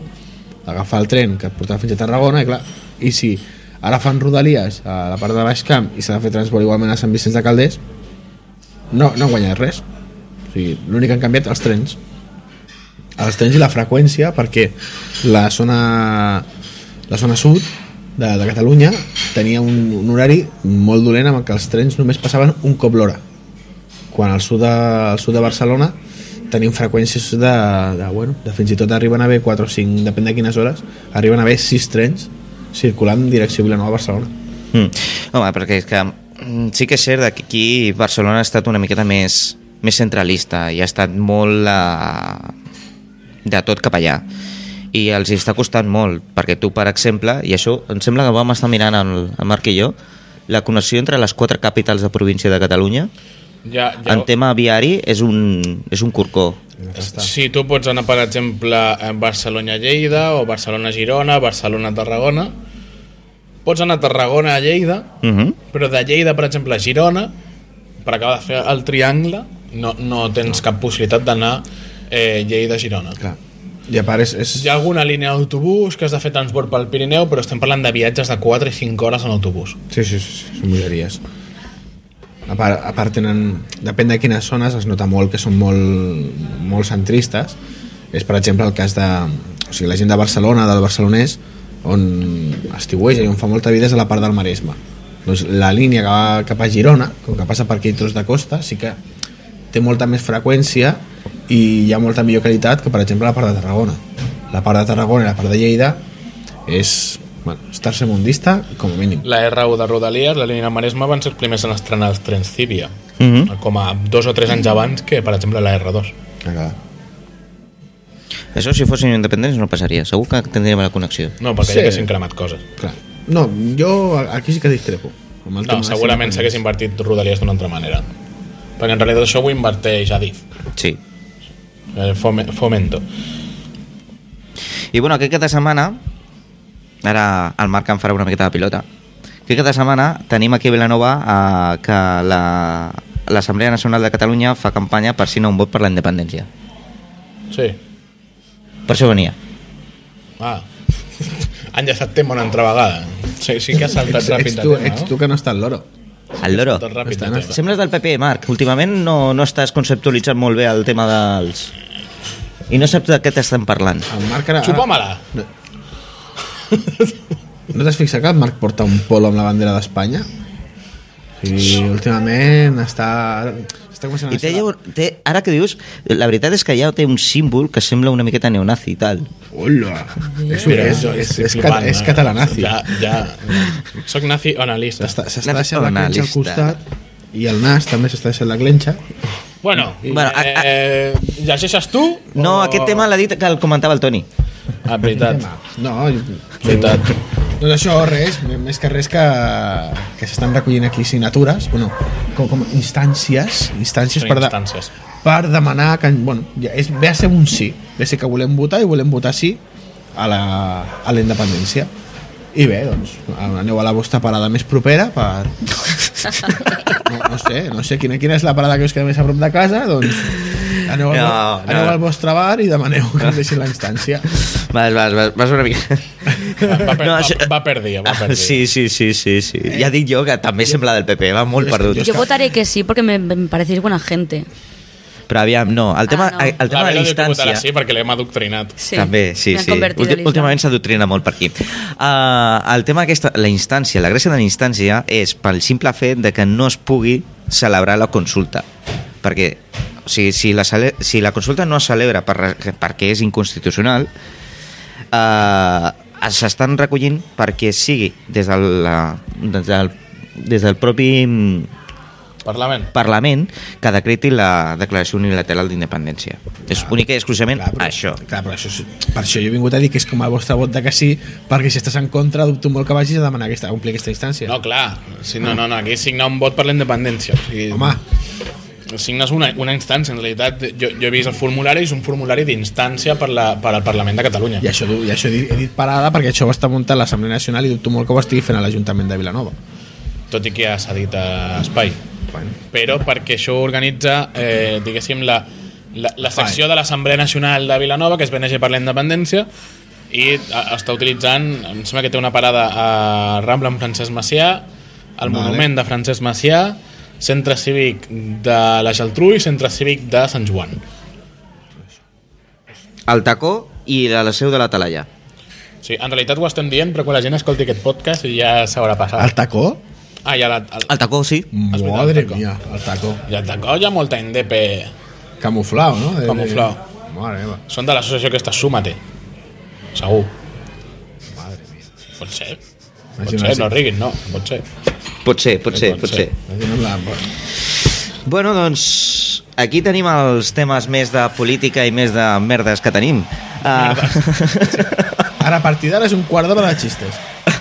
[SPEAKER 3] agafar el tren que et portava fins a Tarragona i clar, i si ara fan rodalies a la part de Baix Camp i s'ha de fer transport igualment a Sant Vicenç de Calders no, no han guanyat res o sigui, l'únic que han canviat els trens els trens i la freqüència perquè la zona la zona sud de, de Catalunya tenia un, un horari molt dolent amb què els trens només passaven un cop l'hora quan al sud de, al sud de Barcelona tenim freqüències de, de, bueno, de fins i tot arriben a haver 4 o 5 depèn de quines hores, arriben a haver 6 trens circulant en direcció Vilanova a Barcelona
[SPEAKER 2] Mm. Home, perquè és que mm, sí que és cert que aquí Barcelona ha estat una miqueta més, més centralista i ha estat molt eh, de tot cap allà i els hi està costant molt perquè tu, per exemple, i això em sembla que vam estar mirant el, el Marc i jo la connexió entre les quatre capitals de província de Catalunya
[SPEAKER 1] Ja, ja,
[SPEAKER 2] en tema viari és un, és un corcó
[SPEAKER 1] Si tu pots anar, per exemple, a Barcelona-Lleida o Barcelona-Girona, Barcelona-Tarragona, pots anar a Tarragona a Lleida,
[SPEAKER 2] uh -huh.
[SPEAKER 1] Però de Lleida, per exemple, a Girona, per acabar de fer el triangle, no, no tens cap possibilitat d'anar eh, Lleida-Girona.
[SPEAKER 3] clar. i a part és, és,
[SPEAKER 1] Hi ha alguna línia d'autobús que has de fer transport pel Pirineu, però estem parlant de viatges de 4 i 5 hores en autobús.
[SPEAKER 3] Sí, sí, sí, sí, són bogeries. A part, a part tenen, depèn de quines zones, es nota molt que són molt, molt centristes. És, per exemple, el cas de o sigui, la gent de Barcelona, del barcelonès, on estiueja i on fa molta vida és a la part del Maresme. Doncs la línia que va cap a Girona, com que passa per aquell tros de costa, sí que té molta més freqüència i hi ha molta millor qualitat que, per exemple, la part de Tarragona. La part de Tarragona i la part de Lleida és, bueno, estar-se mundista, com a mínim.
[SPEAKER 1] La R1 de Rodalies, la línia Maresma, van ser els primers en estrenar els trens Cívia,
[SPEAKER 2] Mhm.
[SPEAKER 3] Mm.
[SPEAKER 1] com a dos o tres anys abans que, per exemple, la R2.
[SPEAKER 3] Acabà.
[SPEAKER 2] Això si fossin independents no passaria segur que tindríem la connexió
[SPEAKER 1] No, perquè
[SPEAKER 3] Sí.
[SPEAKER 1] sí. ja haguessin cremat coses.
[SPEAKER 3] Clar. No, jo a- aquí sí que discrepo. Amb el
[SPEAKER 1] No,
[SPEAKER 3] tema de
[SPEAKER 1] segurament
[SPEAKER 3] cinema.
[SPEAKER 1] s'hagués invertit Rodalies d'una altra manera. Perquè en realitat això ho inverteix Adif,
[SPEAKER 2] Sí.
[SPEAKER 1] eh, Fome- Fomento.
[SPEAKER 2] I bueno, aquest cap de setmana, ara el Marc em farà una miqueta de pilota, aquest cap de setmana tenim aquí a Vilanova eh, que la- l'Assemblea Nacional de Catalunya fa campanya per si no un vot per la independència.
[SPEAKER 1] Sí.
[SPEAKER 2] Per això venia.
[SPEAKER 1] Ah. Han llesat tema una altra vegada. Sí, sí que ha saltat
[SPEAKER 3] Ets,
[SPEAKER 1] ràpid
[SPEAKER 3] ets,
[SPEAKER 1] de
[SPEAKER 3] tu,
[SPEAKER 1] tema,
[SPEAKER 3] ets
[SPEAKER 1] no?
[SPEAKER 3] tu que no estàs loro.
[SPEAKER 2] El loro.
[SPEAKER 1] Tot ràpid de
[SPEAKER 3] Estan-
[SPEAKER 1] tema.
[SPEAKER 2] Sembles del PP, Marc. Últimament no, no estàs conceptualitzant molt bé el tema dels... I no saps de què t'estan parlant.
[SPEAKER 3] El Marc ara...
[SPEAKER 1] Xupa-me-la.
[SPEAKER 3] No t'has fixat que el Marc porta un polo amb la bandera d'Espanya? Sí, últimament està... està començant
[SPEAKER 2] I té,
[SPEAKER 3] ser-
[SPEAKER 2] llavors- té, ara que dius, la veritat és que ja té un símbol que sembla una miqueta neonazi i tal.
[SPEAKER 3] Hola! És,
[SPEAKER 1] Mira,
[SPEAKER 3] és,
[SPEAKER 1] jo
[SPEAKER 3] és,
[SPEAKER 1] estic
[SPEAKER 3] és,
[SPEAKER 1] flipant,
[SPEAKER 3] cata- és
[SPEAKER 1] eh?
[SPEAKER 3] catalanazi.
[SPEAKER 1] Ja, ja. Soc nazi o analista.
[SPEAKER 3] S'està s'està deixant la
[SPEAKER 2] Nacionalista.
[SPEAKER 3] clenxa al costat i el nas també s'està deixant la clenxa.
[SPEAKER 1] Bueno,
[SPEAKER 2] Bueno, a- a-
[SPEAKER 1] eh, llegeixes tu?
[SPEAKER 2] No,
[SPEAKER 1] o-
[SPEAKER 2] aquest tema l'ha dit que el comentava el Toni.
[SPEAKER 1] Ah, veritat.
[SPEAKER 3] No,
[SPEAKER 1] Veritat.
[SPEAKER 3] Doncs això, res, m- més que res que, que s'estan recollint aquí signatures, bueno, com, com instàncies, instàncies, per, de-
[SPEAKER 1] Instàncies.
[SPEAKER 3] per demanar que, bueno, ja és, ve a ser un sí, ve a ser que volem votar i volem votar sí a la, a la independència. I bé, doncs, aneu a la vostra parada més propera per... No, no sé, no sé quina, quina és la parada que us queda més a prop de casa, doncs aneu
[SPEAKER 2] No,
[SPEAKER 3] al, vo-
[SPEAKER 2] no.
[SPEAKER 3] aneu al vostre bar i demaneu que us deixin la instància.
[SPEAKER 2] Vas, vas, vas, vas una mica...
[SPEAKER 1] Va, va, per,
[SPEAKER 2] No,
[SPEAKER 1] va,
[SPEAKER 2] això-
[SPEAKER 1] va per dia, va per
[SPEAKER 2] Ah,
[SPEAKER 1] dia.
[SPEAKER 2] Sí, sí, sí, sí, sí. Ja dic jo que també sembla del PP, va molt
[SPEAKER 3] Jo és que-
[SPEAKER 2] perdut.
[SPEAKER 4] Yo votaré que sí porque me, me parecéis buena gente.
[SPEAKER 2] Però aviam, no, el tema,
[SPEAKER 4] Ah, no.
[SPEAKER 2] El tema
[SPEAKER 1] la
[SPEAKER 2] de la
[SPEAKER 1] Vero diu que votarà
[SPEAKER 2] instància...
[SPEAKER 1] sí perquè l'hem adoctrinat.
[SPEAKER 4] Sí,
[SPEAKER 2] També, sí,
[SPEAKER 4] me han
[SPEAKER 2] sí.
[SPEAKER 4] convertido
[SPEAKER 2] Últim-
[SPEAKER 4] en
[SPEAKER 2] últimament
[SPEAKER 4] Islam.
[SPEAKER 2] s'adoctrina molt per aquí. Uh, el tema aquesta, la instància, la gràcia de la instància és pel simple fet de que no es pugui celebrar la consulta. Perquè o sigui, si, la, cele- si la consulta no es celebra per, re- perquè és inconstitucional, eh, s'estan recollint perquè sigui des del, la, des del, des del propi mm,
[SPEAKER 1] Parlament.
[SPEAKER 2] Parlament que decreti la declaració unilateral d'independència. És única i exclusivament
[SPEAKER 3] Ah, Clar, però,
[SPEAKER 2] això.
[SPEAKER 3] Clar, però això, és- per això jo he vingut a dir que és com el vostre vot de que sí, perquè si estàs en contra dubto molt que vagis a demanar aquesta, a omplir aquesta instància.
[SPEAKER 1] No, clar. Si no, no, no, aquí signar un vot per la independència. O sigui,
[SPEAKER 3] Home,
[SPEAKER 1] signes una, una instància, en realitat jo, jo he vist el formulari, és un formulari d'instància per, la, per al Parlament de Catalunya
[SPEAKER 3] i això, du- i això he dit- he dit parada perquè això ho està muntant l'Assemblea Nacional i dubto molt que ho estigui fent a l'Ajuntament de Vilanova.
[SPEAKER 1] tot i que ja s'ha dit a Espai
[SPEAKER 3] Bueno.
[SPEAKER 1] però perquè això ho organitza eh, diguéssim la, la, la secció de l'Assemblea Nacional de Vilanova que es BNG per la Independència i a, està utilitzant, em sembla que té una parada a Rambla amb Francesc Macià el
[SPEAKER 3] Vale.
[SPEAKER 1] monument de Francesc Macià centre cívic de la Geltrú i centre cívic de Sant Joan
[SPEAKER 2] el tacó i de la seu de la talaia.
[SPEAKER 1] sí, en realitat ho estem dient però quan la gent escolti aquest podcast ja s'haurà
[SPEAKER 3] El
[SPEAKER 1] passat
[SPEAKER 3] tacó?
[SPEAKER 1] ah, ja, la, el,
[SPEAKER 2] El tacó, sí.
[SPEAKER 1] Has vist el
[SPEAKER 3] Madre
[SPEAKER 1] tacó?
[SPEAKER 3] mía, el tacó.
[SPEAKER 1] ja, tacó, hi ha molta indepe
[SPEAKER 3] Camuflao, no? De- de-
[SPEAKER 1] Camuflao.
[SPEAKER 3] Madre meva.
[SPEAKER 1] Són de l'associació aquesta Súmate. Segur. Pot ser. Pot
[SPEAKER 3] Imagina't
[SPEAKER 1] ser,
[SPEAKER 3] si-
[SPEAKER 1] no riguin, no. Pot ser.
[SPEAKER 2] Pot ser, pot ser, pot ser.
[SPEAKER 3] Imagina't la-
[SPEAKER 2] Bueno, doncs, aquí tenim els temes més de política i més de merdes que tenim. Uh,
[SPEAKER 3] Ara, a partir d'ara és un quart d'hora de xistes.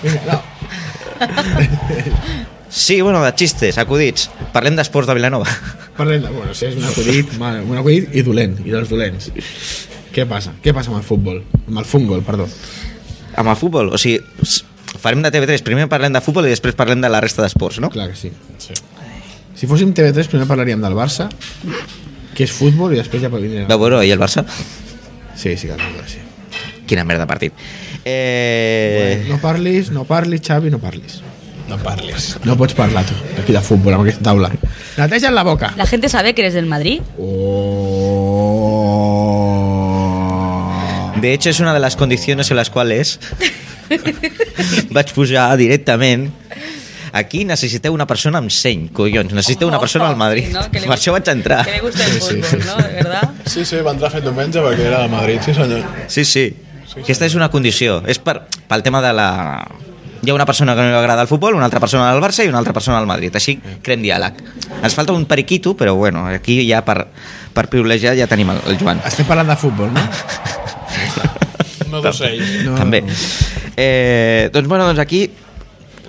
[SPEAKER 3] Vinga, no.
[SPEAKER 2] sí, bueno, de xistes, acudits. Parlem d'esports de Vilanova.
[SPEAKER 3] Parlem de... Bueno, sí, és un acudit, mal, un acudit i dolent, i dels dolents. Què passa? Què passa amb el futbol? Amb el fútbol, perdó.
[SPEAKER 2] Amb el futbol, o sigui, s- farem de TV3. Primer parlem de futbol i després parlem de la resta d'esports, no?
[SPEAKER 3] Clar que sí.
[SPEAKER 1] Sí.
[SPEAKER 3] Si fóssim TV3, primer parlaríem del Barça, que és futbol, i després ja vindrem...
[SPEAKER 2] De Boró i el Barça.
[SPEAKER 3] Sí, sí, que el Barça, sí.
[SPEAKER 2] Quina merda de partit. Eh...
[SPEAKER 3] No parlis, no parlis, Xavi, no parlis.
[SPEAKER 1] No parlis.
[SPEAKER 3] No pots parlar, tu, aquí de futbol, amb aquesta taula. Neteja't la boca.
[SPEAKER 4] La gente sabe que eres del Madrid.
[SPEAKER 3] Oh.
[SPEAKER 2] De hecho, es una de las condiciones en las cuales vaig pujar directament aquí necessiteu una persona amb seny, collons. Necessiteu una
[SPEAKER 4] Ojo,
[SPEAKER 2] persona al Madrid.
[SPEAKER 4] sí, no? Que li
[SPEAKER 2] Per això vaig entrar.
[SPEAKER 4] Que le gusta el fútbol, ¿no? De verdad.
[SPEAKER 1] Sí, sí, va entrar fet diumenge perquè era de Madrid, sí senyor.
[SPEAKER 2] Sí, sí. Aquesta és una condició. És per, pel tema de la... Hi ha una persona que no li agrada el futbol, una altra persona al Barça i una altra persona al Madrid. Així creem diàleg. Ens falta un periquito, però bueno, aquí ja per, per privilegiar ja tenim el, el Joan.
[SPEAKER 3] Estem parlant de futbol, no?
[SPEAKER 1] No d'ocell.
[SPEAKER 3] No,
[SPEAKER 2] també.
[SPEAKER 3] no.
[SPEAKER 2] Eh, doncs, bueno, doncs aquí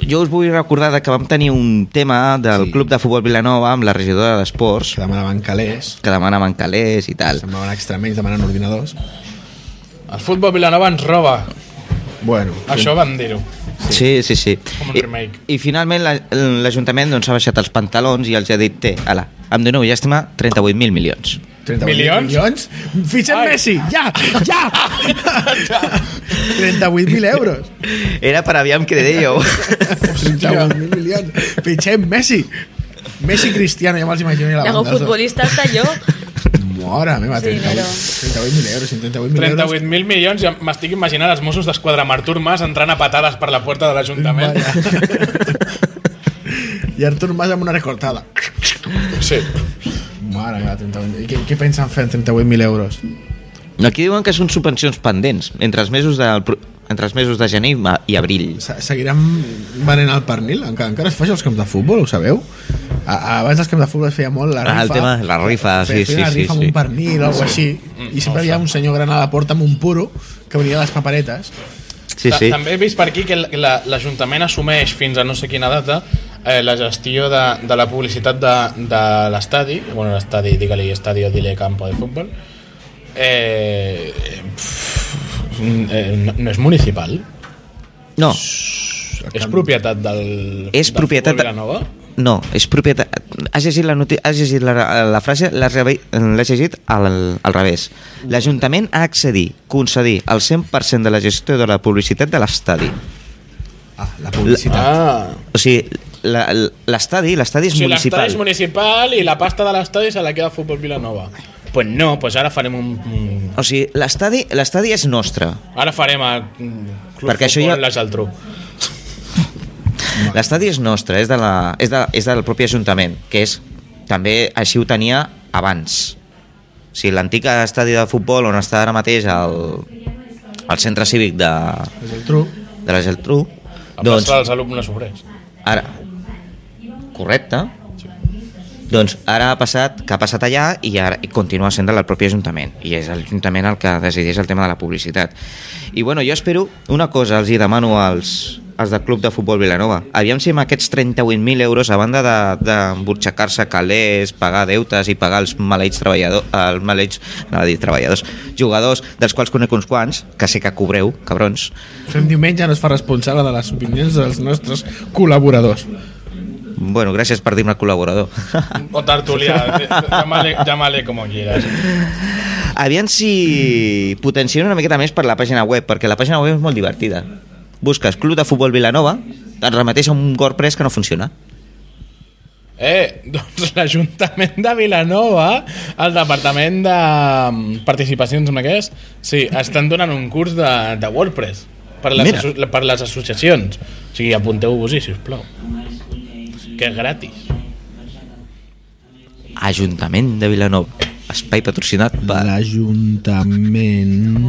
[SPEAKER 2] jo us vull recordar de que vam tenir un tema del
[SPEAKER 3] Sí.
[SPEAKER 2] Club de Futbol Vilanova amb la regidora d'Esports,
[SPEAKER 3] que demanaven calés,
[SPEAKER 2] que demanaven calés i tal.
[SPEAKER 3] semblaven extremenys demanant ordinadors.
[SPEAKER 1] El futbol vilanova ens roba.
[SPEAKER 3] Bueno,
[SPEAKER 1] Això van dir-ho.
[SPEAKER 2] Sí, sí, sí.
[SPEAKER 1] Com un
[SPEAKER 2] I,
[SPEAKER 1] remake.
[SPEAKER 2] I finalment la- l'Ajuntament doncs, ha baixat els pantalons i els ha dit, té, ala, em doneu llàstima 38.000 milions.
[SPEAKER 3] 38
[SPEAKER 1] Milions?
[SPEAKER 3] milions? Fitxen
[SPEAKER 1] Ai.
[SPEAKER 3] Messi, ja, ja! 38.000 euros.
[SPEAKER 2] Era per aviam què dèieu.
[SPEAKER 3] 38.000 milions. Fitxem Messi. Messi i Cristiano, ja me'ls imagino. a La
[SPEAKER 4] Hago
[SPEAKER 3] banda, els dos.
[SPEAKER 4] futbolista hasta yo.
[SPEAKER 3] Mora meva,
[SPEAKER 4] Sí,
[SPEAKER 3] 38
[SPEAKER 4] però-
[SPEAKER 3] 38.000 euros, 38.000 euros.
[SPEAKER 1] 38.000 milions, ja m'estic imaginant els Mossos d'Esquadra amb Artur Mas entrant a patades per la puerta de l'Ajuntament.
[SPEAKER 3] Vaya. I Artur Mas amb una recortada.
[SPEAKER 1] Sí.
[SPEAKER 3] Mare meva, 38.000. I què, què pensen fer amb 38.000 euros?
[SPEAKER 2] Aquí diuen que són subvencions pendents entre els mesos de, entre els mesos de gener i ma- i abril.
[SPEAKER 3] Se- Seguirem venent al pernil? Encara, encara es fa això als camps de futbol, ho sabeu? A, abans dels camps de futbol es feia molt la
[SPEAKER 2] Ah,
[SPEAKER 3] rifa.
[SPEAKER 2] el tema de la rifa,
[SPEAKER 3] Feia-
[SPEAKER 2] Ah, sí,
[SPEAKER 3] feia una
[SPEAKER 2] sí, sí,
[SPEAKER 3] rifa amb
[SPEAKER 2] sí.
[SPEAKER 3] un pernil o alguna així. I sempre hi havia un senyor gran a la porta amb un puro que venia a les paperetes.
[SPEAKER 2] Sí,
[SPEAKER 1] Ta-
[SPEAKER 2] sí.
[SPEAKER 1] També he vist per aquí que l- la- l'Ajuntament assumeix fins a no sé quina data eh, la gestió de, de la publicitat de, de l'estadi, bueno, l'estadi, digue-li, estadio, dile campo de futbol, eh, pff, eh, no, no és municipal,
[SPEAKER 2] No,
[SPEAKER 1] és propietat del...
[SPEAKER 2] És
[SPEAKER 1] del
[SPEAKER 2] propietat
[SPEAKER 1] Futbol
[SPEAKER 2] de-
[SPEAKER 1] Vilanova?
[SPEAKER 2] no, és propietat... Has llegit la, noti... has llegit la, la frase, l'has rebe- l'has llegit al, al revés. L'Ajuntament ha accedir, concedir el 100% de la gestió de la publicitat de l'estadi.
[SPEAKER 3] Ah, la publicitat.
[SPEAKER 1] Ah,
[SPEAKER 2] O sigui, la- l'estadi l'estadi
[SPEAKER 1] o
[SPEAKER 2] és
[SPEAKER 1] sigui, l'estadi
[SPEAKER 2] municipal.
[SPEAKER 1] és municipal i la pasta de l'estadi se la queda Futbol Vilanova. Pues no, pues ara farem un... un-
[SPEAKER 2] O sigui, l'estadi l'estadi és nostre.
[SPEAKER 1] Ara farem el mm, Club
[SPEAKER 2] Perquè això
[SPEAKER 1] Futbol
[SPEAKER 2] ja-
[SPEAKER 1] La Geltrú.
[SPEAKER 2] L'estadi és nostre, és, de la, és, de, és del propi Ajuntament, que és també així ho tenia abans. O sigui, l'antic estadi de futbol on està ara mateix el, el centre cívic de,
[SPEAKER 3] És el tru.
[SPEAKER 2] de la Geltrú,
[SPEAKER 1] A doncs...
[SPEAKER 2] doncs
[SPEAKER 1] plaça dels alumnes obrers.
[SPEAKER 2] ara... Correcte. Doncs ara ha passat, que ha passat allà i, ara, i continua sent del propi Ajuntament. I és l'Ajuntament el que decideix el tema de la publicitat. I bueno, jo espero una cosa, els hi demano als, als del Club de Futbol Vilanova. Aviam si amb aquests 38.000 euros, a banda d'emborxacar-se de, calés, pagar deutes i pagar els maleïts treballadors, els maleïts, anava a dir treballadors, jugadors, dels quals conec uns quants, que sé que cobreu, cabrons,
[SPEAKER 3] Fem diumenge no es fa responsable de les opinions dels nostres col·laboradors.
[SPEAKER 2] Bueno, gràcies per dir-me col·laborador.
[SPEAKER 1] O tertulià, eh, llámale, llámale como quieras.
[SPEAKER 2] Aviam si potencien una miqueta més per la pàgina web, perquè la pàgina web és molt divertida. Busques Club de Futbol Vilanova, et remeteix a un WordPress que no funciona.
[SPEAKER 1] Eh, doncs l'Ajuntament de Vilanova, el Departament de mm, Participacions, amb què és? Sí, estan donant un curs de, de WordPress per les,
[SPEAKER 2] Mira.
[SPEAKER 1] asso per les associacions. O sigui, apunteu-vos-hi, sisplau. Que és gratis.
[SPEAKER 2] Ajuntament de Vilanova, espai patrocinat per...
[SPEAKER 3] L'Ajuntament...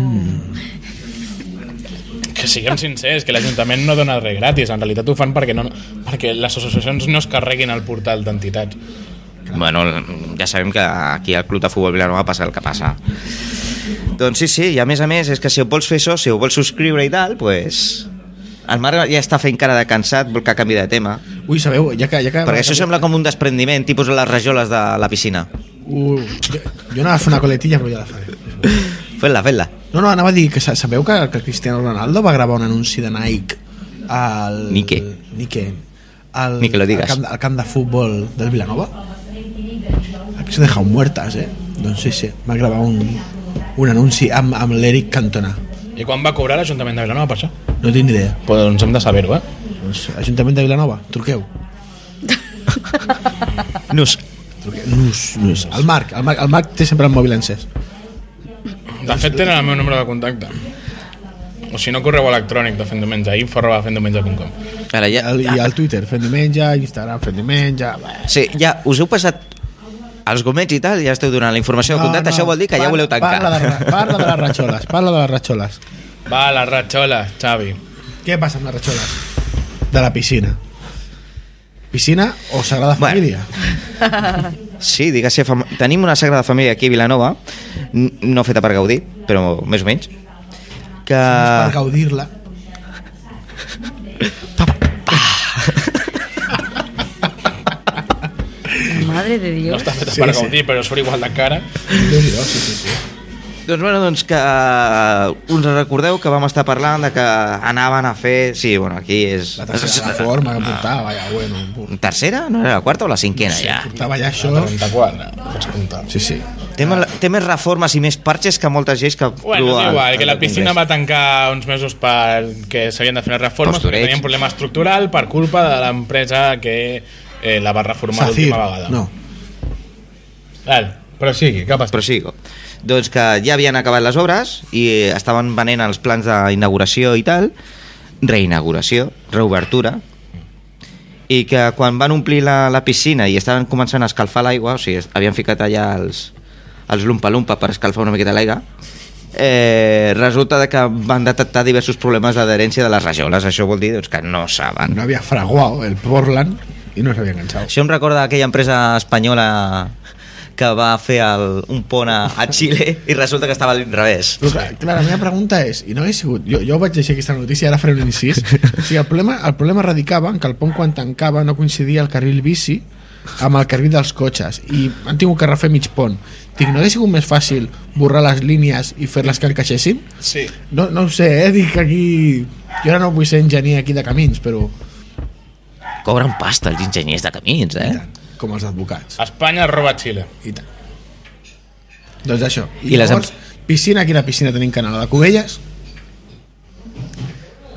[SPEAKER 1] Que siguem sincers, que l'Ajuntament no dona res gratis. En realitat ho fan perquè, no, perquè les associacions no es carreguin al portal d'entitats.
[SPEAKER 2] Bueno, ja sabem que aquí al Club de Futbol Vilanova passa el que passa. Doncs sí, sí, i a més a més, és que si ho vols fer això, si ho vols subscriure i tal, pues... El Marc ja està fent cara de cansat, vol que canvi de tema.
[SPEAKER 3] Ui, sabeu, ja que... Ja que
[SPEAKER 2] Perquè això sembla com un desprendiment, tipus les rajoles de la piscina.
[SPEAKER 3] Uh, jo, jo anava a fer una coletilla, però ja la faré.
[SPEAKER 2] Fent-la, fent-la.
[SPEAKER 3] No, no, anava a dir que sa- sabeu que, que Cristiano Ronaldo va gravar un anunci de Nike al...
[SPEAKER 2] Ni què.
[SPEAKER 3] Ni què. Al,
[SPEAKER 2] Ni que lo digas.
[SPEAKER 3] Al camp, al camp de futbol del Vilanova. Aquí s'ha dejat muertas, eh? Doncs sí, sí, va gravar un, un anunci amb, amb l'Eric Cantona.
[SPEAKER 1] I quan va cobrar l'Ajuntament de Vilanova per això?
[SPEAKER 3] No tinc ni idea.
[SPEAKER 1] Pues doncs hem de saber-ho, eh?
[SPEAKER 3] Doncs, Ajuntament de Vilanova, truqueu.
[SPEAKER 2] Nus.
[SPEAKER 3] truqueu. Nus, nus. El Marc, el Marc, el Marc té sempre el mòbil encès.
[SPEAKER 1] De fet, tenen el meu número de contacte. O si no, correu electrònic de fent diumenge, info arroba fentdiumenge.com.
[SPEAKER 2] Ara
[SPEAKER 3] I
[SPEAKER 2] ja...
[SPEAKER 3] el, i el Twitter, fent diumenge, Instagram, fent diumenge... Bé.
[SPEAKER 2] Sí, ja us heu passat els gomets i tal, ja esteu donant la informació de contacte, això vol dir que ja
[SPEAKER 3] parla-
[SPEAKER 2] voleu tancar.
[SPEAKER 3] Ah, Parla de, ra- parla de les ratxoles, parla de les ratxoles.
[SPEAKER 1] Va, la ratxola, Xavi.
[SPEAKER 3] Què passa amb les ratxoles? De la piscina. Piscina o Sagrada
[SPEAKER 2] Bueno.
[SPEAKER 3] Família?
[SPEAKER 2] Sí, digues, fam... tenim una sagrada família aquí a Vilanova, n- no feta per Gaudí, però més o menys, que...
[SPEAKER 3] Per gaudir-la.
[SPEAKER 4] Madre de Dios.
[SPEAKER 1] No està feta
[SPEAKER 3] Sí,
[SPEAKER 1] per
[SPEAKER 3] sí.
[SPEAKER 1] gaudir, però surt igual de cara.
[SPEAKER 3] Déu-n'hi-do, "Oh, sí, sí, sí.
[SPEAKER 2] Doncs bueno, doncs que eh, us recordeu que vam estar parlant de que anaven a fer... Sí, bueno, aquí és...
[SPEAKER 3] La tercera forma que portava, ja, bueno. por-
[SPEAKER 2] Tercera? No era la quarta o la cinquena ja?
[SPEAKER 3] Portava ja això.
[SPEAKER 1] 34, descomptat.
[SPEAKER 3] Sí, sí.
[SPEAKER 2] Té, mal, té més reformes i més parxes que moltes lleis que...
[SPEAKER 5] Bueno, és
[SPEAKER 2] al-
[SPEAKER 5] igual, que
[SPEAKER 2] al
[SPEAKER 5] la piscina va
[SPEAKER 2] Congrés.
[SPEAKER 5] tancar uns mesos perquè s'havien de fer unes reformes,
[SPEAKER 2] Postureig.
[SPEAKER 5] perquè tenien un problema estructural per culpa de l'empresa que eh, la va reformar
[SPEAKER 3] Zafir.
[SPEAKER 5] l'última vegada.
[SPEAKER 3] No.
[SPEAKER 5] Val, però sigui, cap
[SPEAKER 2] Però sí, doncs que ja havien acabat les obres i eh, estaven venent els plans d'inauguració i tal, reinauguració, reobertura, i que quan van omplir la, la piscina i estaven començant a escalfar l'aigua, o sigui, es- havien ficat allà els, els lumpa-lumpa per escalfar una miqueta l'aigua, eh, resulta de que van detectar diversos problemes d'adherència de les rajoles, això vol dir doncs, que Ah, no saben.
[SPEAKER 3] No había fraguado el Portland y no se había enganchado.
[SPEAKER 2] Això em recorda aquella empresa espanyola que va fer el, un pont a, a Xile i resulta que estava al revés.
[SPEAKER 3] Però, clar, clar, la meva pregunta és, i no he sigut, jo, jo vaig llegir aquesta notícia, ara faré un incís, o sigui, el, problema, el problema radicava en que el pont quan tancava no coincidia el carril bici amb el carril dels cotxes i han tingut que refer mig pont. Dic, no hauria sigut més fàcil borrar les línies i fer-les que encaixessin?
[SPEAKER 1] Sí.
[SPEAKER 3] No, no ho sé, eh? Dic que aquí... Jo ara no vull ser enginyer aquí de camins, però
[SPEAKER 2] Cobren pasta els enginyers de camins, eh?
[SPEAKER 3] com els advocats.
[SPEAKER 5] Espanya roba Xile.
[SPEAKER 3] I tant. Doncs això. I,
[SPEAKER 2] I
[SPEAKER 3] I
[SPEAKER 2] les
[SPEAKER 3] llavors, piscina, quina piscina tenim canal? La de Cubelles?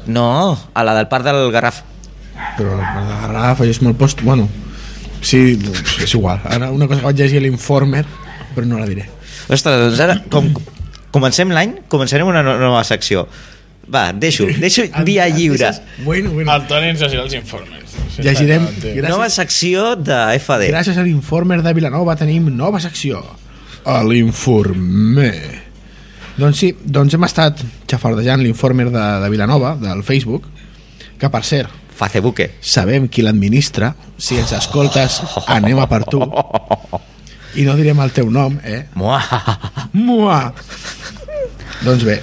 [SPEAKER 2] No, a la del parc del Garraf.
[SPEAKER 3] però la part de Garraf és molt post... Bueno, sí, és igual. Ara una cosa que vaig llegir a l'Informer, però no la diré.
[SPEAKER 2] Ostres, doncs ara, com comencem l'any, començarem una no- nova secció. Va, deixo, deixo via lliure.
[SPEAKER 3] Bueno, bueno.
[SPEAKER 5] El Toni ens llegirà els informes.
[SPEAKER 3] Llegirem...
[SPEAKER 2] Nova
[SPEAKER 3] Gràcies,
[SPEAKER 2] secció de FD.
[SPEAKER 3] gràcies a l'Informer de Vilanova tenim nova secció. A l'Informer. Doncs sí, doncs hem estat xafardejant l'Informer de, de Vilanova, del Facebook, que per cert,
[SPEAKER 2] Facebooke.
[SPEAKER 3] sabem qui l'administra, si ens escoltes, anem a per tu. I no direm el teu nom, eh?
[SPEAKER 2] Muah.
[SPEAKER 3] Mua! doncs bé,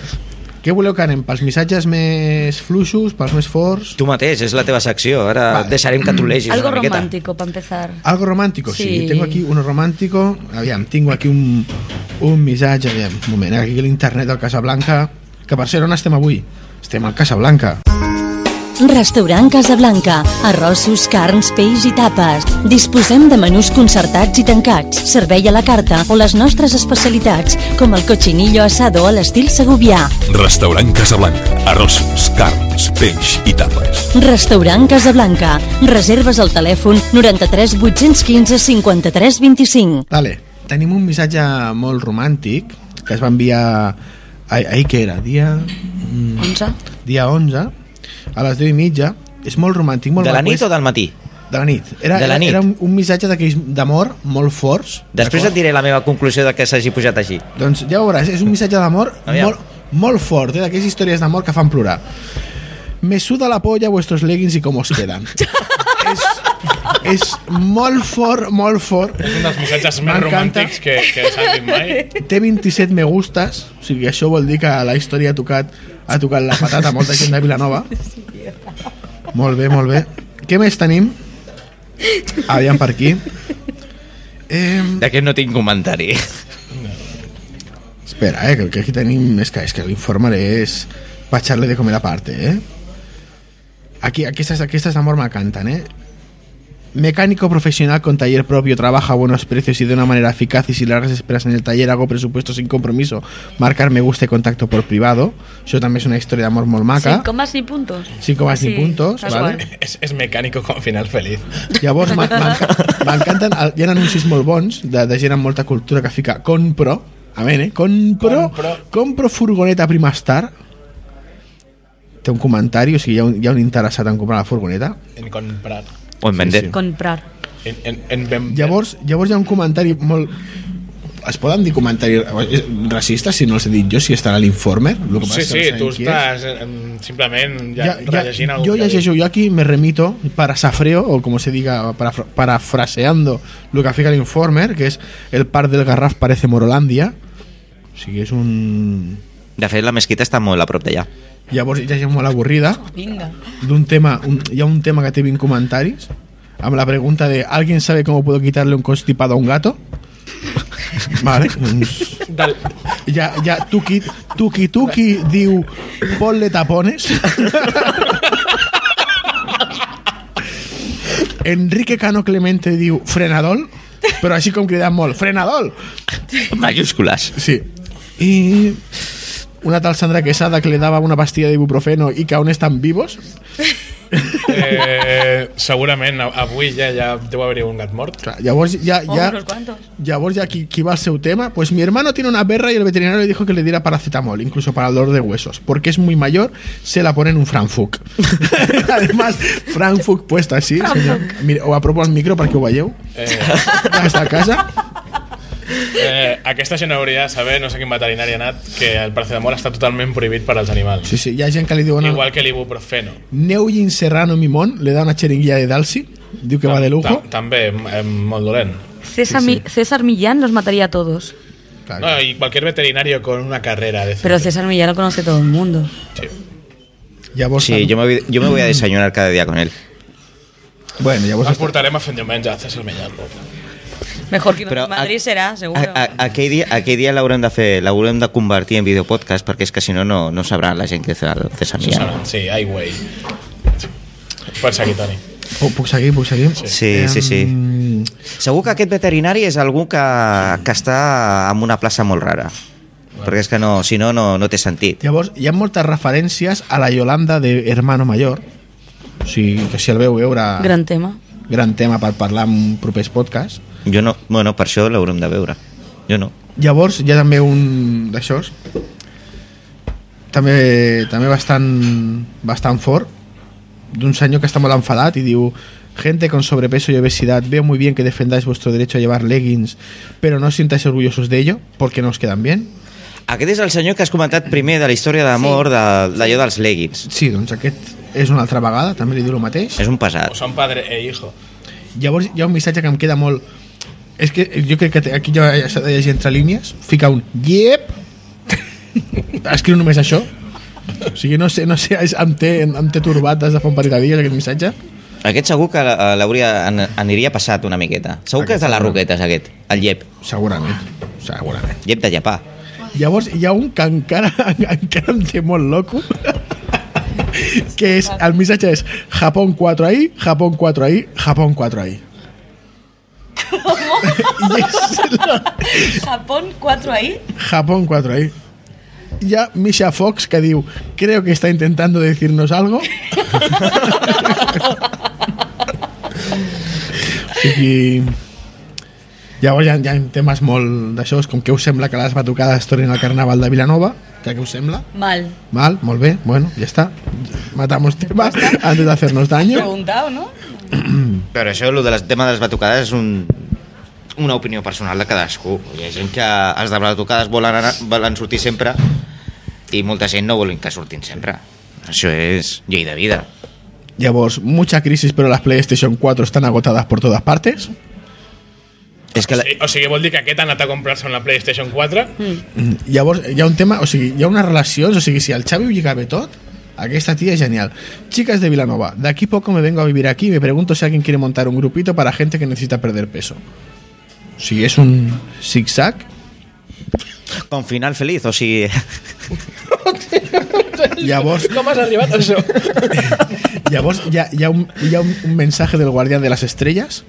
[SPEAKER 3] què voleu que anem? Pels missatges més fluixos, pels més forts?
[SPEAKER 2] Tu mateix, és la teva secció. Ara
[SPEAKER 3] Va.
[SPEAKER 2] deixarem que tu legis
[SPEAKER 4] Algo
[SPEAKER 2] una miqueta.
[SPEAKER 4] romántico, para empezar.
[SPEAKER 3] Algo romàntico, sí.
[SPEAKER 4] Sí.
[SPEAKER 3] sí. Tengo aquí uno romàntico. Aviam, tinc aquí un, un missatge. Aviam, un moment, eh? aquí l'internet del Casablanca. Que per cert, on estem avui? Estem al Casablanca.
[SPEAKER 6] Restaurant Casablanca. Arrossos, carns, peix i tapes. Disposem de menús concertats i tancats, servei a la carta o les nostres especialitats, com el cochinillo asado a l'estil segubià.
[SPEAKER 7] Restaurant Casablanca. Arrossos, carns, peix i tapes.
[SPEAKER 6] Restaurant Casablanca. Reserves al telèfon 93 815 53 25.
[SPEAKER 3] Dale. Tenim un missatge molt romàntic que es va enviar... Ahir, ahir què era? Dia... mm,
[SPEAKER 4] Onza.
[SPEAKER 3] Dia 11, a les 10 i mitja. És molt romàntic, molt
[SPEAKER 2] De la
[SPEAKER 3] maco.
[SPEAKER 2] nit
[SPEAKER 3] És-
[SPEAKER 2] o del matí?
[SPEAKER 3] De la nit. Era,
[SPEAKER 2] De la
[SPEAKER 3] era,
[SPEAKER 2] nit.
[SPEAKER 3] era un, un missatge d'aquells d'amor molt forts.
[SPEAKER 2] Després et
[SPEAKER 3] d'acord?
[SPEAKER 2] diré la meva conclusió de que s'hagi pujat així.
[SPEAKER 3] Doncs ja ho veuràs, és un missatge d'amor
[SPEAKER 2] Aviam.
[SPEAKER 3] molt, molt fort, eh, d'aquelles històries d'amor que fan plorar. Me suda la polla vuestros leggings y cómo os quedan. és, és molt fort, molt fort.
[SPEAKER 5] És un dels missatges més
[SPEAKER 3] M'encanta.
[SPEAKER 5] romàntics que, que s'han dit mai.
[SPEAKER 3] Té 27 me gustes, o sigui, això vol dir que la història ha tocat, ha tocat la patata a molta gent de Vilanova. Molt bé, molt bé. Què més tenim? Aviam per aquí. Eh,
[SPEAKER 2] D'aquest no tinc comentari.
[SPEAKER 3] Espera, eh, que el que aquí tenim és que, és que l'informer és pa echarle de comer aparte, eh? Aquí, aquestes, aquestes d'amor m'encanten, eh? Mecánico profesional con taller propio, trabaja a buenos precios y de una manera eficaz y sin largas esperas en el taller, hago presupuesto sin compromiso, marcar me gusta y contacto por privado. Això també és una història d'amor molt maca.
[SPEAKER 4] Sin comas ni puntos.
[SPEAKER 3] Sin comas ni puntos,
[SPEAKER 4] tal
[SPEAKER 3] vale.
[SPEAKER 4] cual.
[SPEAKER 5] És, és mecànico con final feliz.
[SPEAKER 3] Llavors, m'en- m'enca- m'encanten... el- Hi ha anuncis molt bons de, de gent amb molta cultura que fica compro, amén, eh? Compro, compro,
[SPEAKER 5] Compro.
[SPEAKER 3] furgoneta Primastar. Té un comentari, o sigui, hi ha un, hi ha un interessat en comprar la furgoneta.
[SPEAKER 5] En comprar.
[SPEAKER 2] O en vender. Sí,
[SPEAKER 4] Comprar.
[SPEAKER 5] En, en, en ben...
[SPEAKER 3] Llavors, llavors hi ha un comentari molt... Es poden dir comentaris eh, racistes si no els he dit jo, si estan a l'informe? El que passa
[SPEAKER 5] Sí,
[SPEAKER 3] és que
[SPEAKER 5] sí,
[SPEAKER 3] no sabem
[SPEAKER 5] tu
[SPEAKER 3] qui és.
[SPEAKER 5] estàs eh, em, simplement ja, ja, rellegint algú.
[SPEAKER 3] yo
[SPEAKER 5] que ha dit.
[SPEAKER 3] yo aquí me remito parasafreo o como se diga parafra- parafraseando lo que afirma el informer que es el par del garraf parece Morolandia sí que es un
[SPEAKER 2] De fet, la mesquita està molt a prop d'allà.
[SPEAKER 3] ya ya llamo la aburrida
[SPEAKER 4] Vinga.
[SPEAKER 3] d'un tema un, hi ha un tema que té 20 comentaris Amb la pregunta de ¿Alguien sabe cómo puedo quitarle un constipado a un gato? Vale, doncs
[SPEAKER 5] Del...
[SPEAKER 3] ja, ja Tuki, Tuki, Tuki diu ponle tapones. Enrique Cano Clemente diu frenadol, però així com cridant molt, frenadol!
[SPEAKER 2] Mayúsculas.
[SPEAKER 3] Sí. I una tal Sandra Quesada que le daba una pastilla de ibuprofeno y que aún están vivos.
[SPEAKER 5] Eh, segurament a- avui ja, ja deu haver-hi un gat mort.
[SPEAKER 3] Clar, Llavors ja,
[SPEAKER 4] Oh,
[SPEAKER 3] ja,
[SPEAKER 4] unos cuantos.
[SPEAKER 3] llavors ja qui, qui va al seu tema, pues mi hermano tiene una berra y el veterinario le dijo que le diera paracetamol, incluso para el dolor de huesos, porque es muy mayor, se la pone en un Frankfurt. Además, Frankfurt puesto así, senyor. Mira, o apropo el micro perquè ho veieu.
[SPEAKER 5] Eh,
[SPEAKER 3] Ja està a casa.
[SPEAKER 5] eh, aquesta gent hauria de saber, no sé quin veterinari ha anat, que el paracetamol està totalment prohibit per als animals.
[SPEAKER 3] Sí, sí, hi ha gent que li diuen...
[SPEAKER 5] Igual que l'ibuprofeno.
[SPEAKER 3] Neujin Serrano Mimón le da una xeringuilla de Dalsi, diu que va de lujo.
[SPEAKER 5] Ta- També, eh, molt dolent.
[SPEAKER 4] César, Mi- César Millán los mataría a todos.
[SPEAKER 3] Clar,
[SPEAKER 5] No, y cualquier veterinario con una carrera de
[SPEAKER 4] Pero
[SPEAKER 5] centro.
[SPEAKER 4] César Millán lo conoce todo el mundo.
[SPEAKER 3] Llavors,
[SPEAKER 2] Sí, yo me, voy, yo me voy a desayunar cada día con él.
[SPEAKER 3] Bueno, llavors...
[SPEAKER 5] Els portarem a fer diumenge a César Millán.
[SPEAKER 4] Mejor que
[SPEAKER 2] Però
[SPEAKER 4] Madrid
[SPEAKER 2] a-
[SPEAKER 4] será,
[SPEAKER 2] A,
[SPEAKER 4] seguro.
[SPEAKER 2] a, aquell dia, aquell dia l'haurem de fer, l'haurem de convertir en videopodcast perquè és que si no no, no sabrà la gent que és el César Millán.
[SPEAKER 5] Susana, sí, ai, güey. Pots seguir, Toni.
[SPEAKER 3] Puc, puc seguir, puc seguir?
[SPEAKER 2] Sí, sí, sí.
[SPEAKER 3] Em,
[SPEAKER 2] Segur que aquest veterinari és algú que, que està en una plaça molt rara. Perquè és que no, si no, no, no té sentit.
[SPEAKER 3] Llavors, hi ha moltes referències a la Yolanda de Hermano Mayor, o sigui, que si el veu veure...
[SPEAKER 4] Gran tema.
[SPEAKER 3] gran tema per parlar en propers podcasts.
[SPEAKER 2] Jo no, bueno, per això l'haurem de veure. Jo no.
[SPEAKER 3] Llavors, hi ha també un d'això, també, també bastant, bastant fort, d'un senyor que està molt enfadat i diu Gente con sobrepeso y obesidad, veo muy bien que defendáis vuestro derecho a llevar leggings, pero no os sintáis orgullosos de ello, porque no os quedan bien.
[SPEAKER 2] Aquest és el senyor que has comentat primer de la història d'amor sí. de, d'allò dels leggings.
[SPEAKER 3] Sí, doncs aquest és una altra vegada, també li diu el mateix.
[SPEAKER 2] És un
[SPEAKER 5] O
[SPEAKER 2] pesat.
[SPEAKER 5] son padre e hijo.
[SPEAKER 3] Llavors hi ha un missatge que em queda molt... És que jo crec que té- aquí ja s'ha de llegir entre línies. Fica un yep. Escriu només això. O sigui, no sé, no sé, és- em té, em té turbat des de fa un parell de dies aquest missatge.
[SPEAKER 2] Aquest segur que eh, l'hauria, an- aniria passat una miqueta. Segur que és de les roquetes, aquest. El llep.
[SPEAKER 3] Segurament, segurament.
[SPEAKER 2] Llep de llepar.
[SPEAKER 3] Llavors hi ha un que encara, encara em té molt loco, que és, el missatge és Japón 4 ahí, Japón 4 ahí, Japón 4 ahí. I és la,
[SPEAKER 4] Japón, cuatro ahí.
[SPEAKER 3] Japón 4 ahí. Ya Misha Fox que diu, creo que está intentando decirnos algo. I llavors hi ha, hi ha temes molt d'això, és com que us sembla que les batucades es tornin al Carnaval de Vilanova, que què us sembla?
[SPEAKER 4] Mal.
[SPEAKER 3] Mal, molt bé, bueno, ja està. Matamos temas antes de hacernos daño.
[SPEAKER 4] Preguntado, ¿no?
[SPEAKER 2] Però això, el del tema de les batucades, és un, una opinió personal de cadascú. Hi ha gent que els de batucades volen, anar, volen sortir sempre i molta gent no volen que surtin sempre. Això és llei de vida.
[SPEAKER 3] Llavors, mucha crisis, pero las PlayStation 4 están agotadas por todas partes.
[SPEAKER 2] És que la,
[SPEAKER 5] O sigui, vol dir que aquest ha anat a comprar-se una PlayStation 4?
[SPEAKER 3] Mm, Llavors, hi ha un tema, o sigui, hi ha unes relacions, o sigui, si el Xavi ho lligava tot, aquesta tía es genial. Chicas de Vilanova, de aquí poco me vengo a vivir aquí y me pregunto si alguien quiere montar un grupito para gente que necesita perder peso. O sigui, és un zig-zag.
[SPEAKER 2] con final feliz, o sigui...
[SPEAKER 3] Llavors,
[SPEAKER 5] Com has arribat a això?
[SPEAKER 3] llavors hi ha, hi ha, un, hi ha un, un mensaje del Guardián de las Estrellas,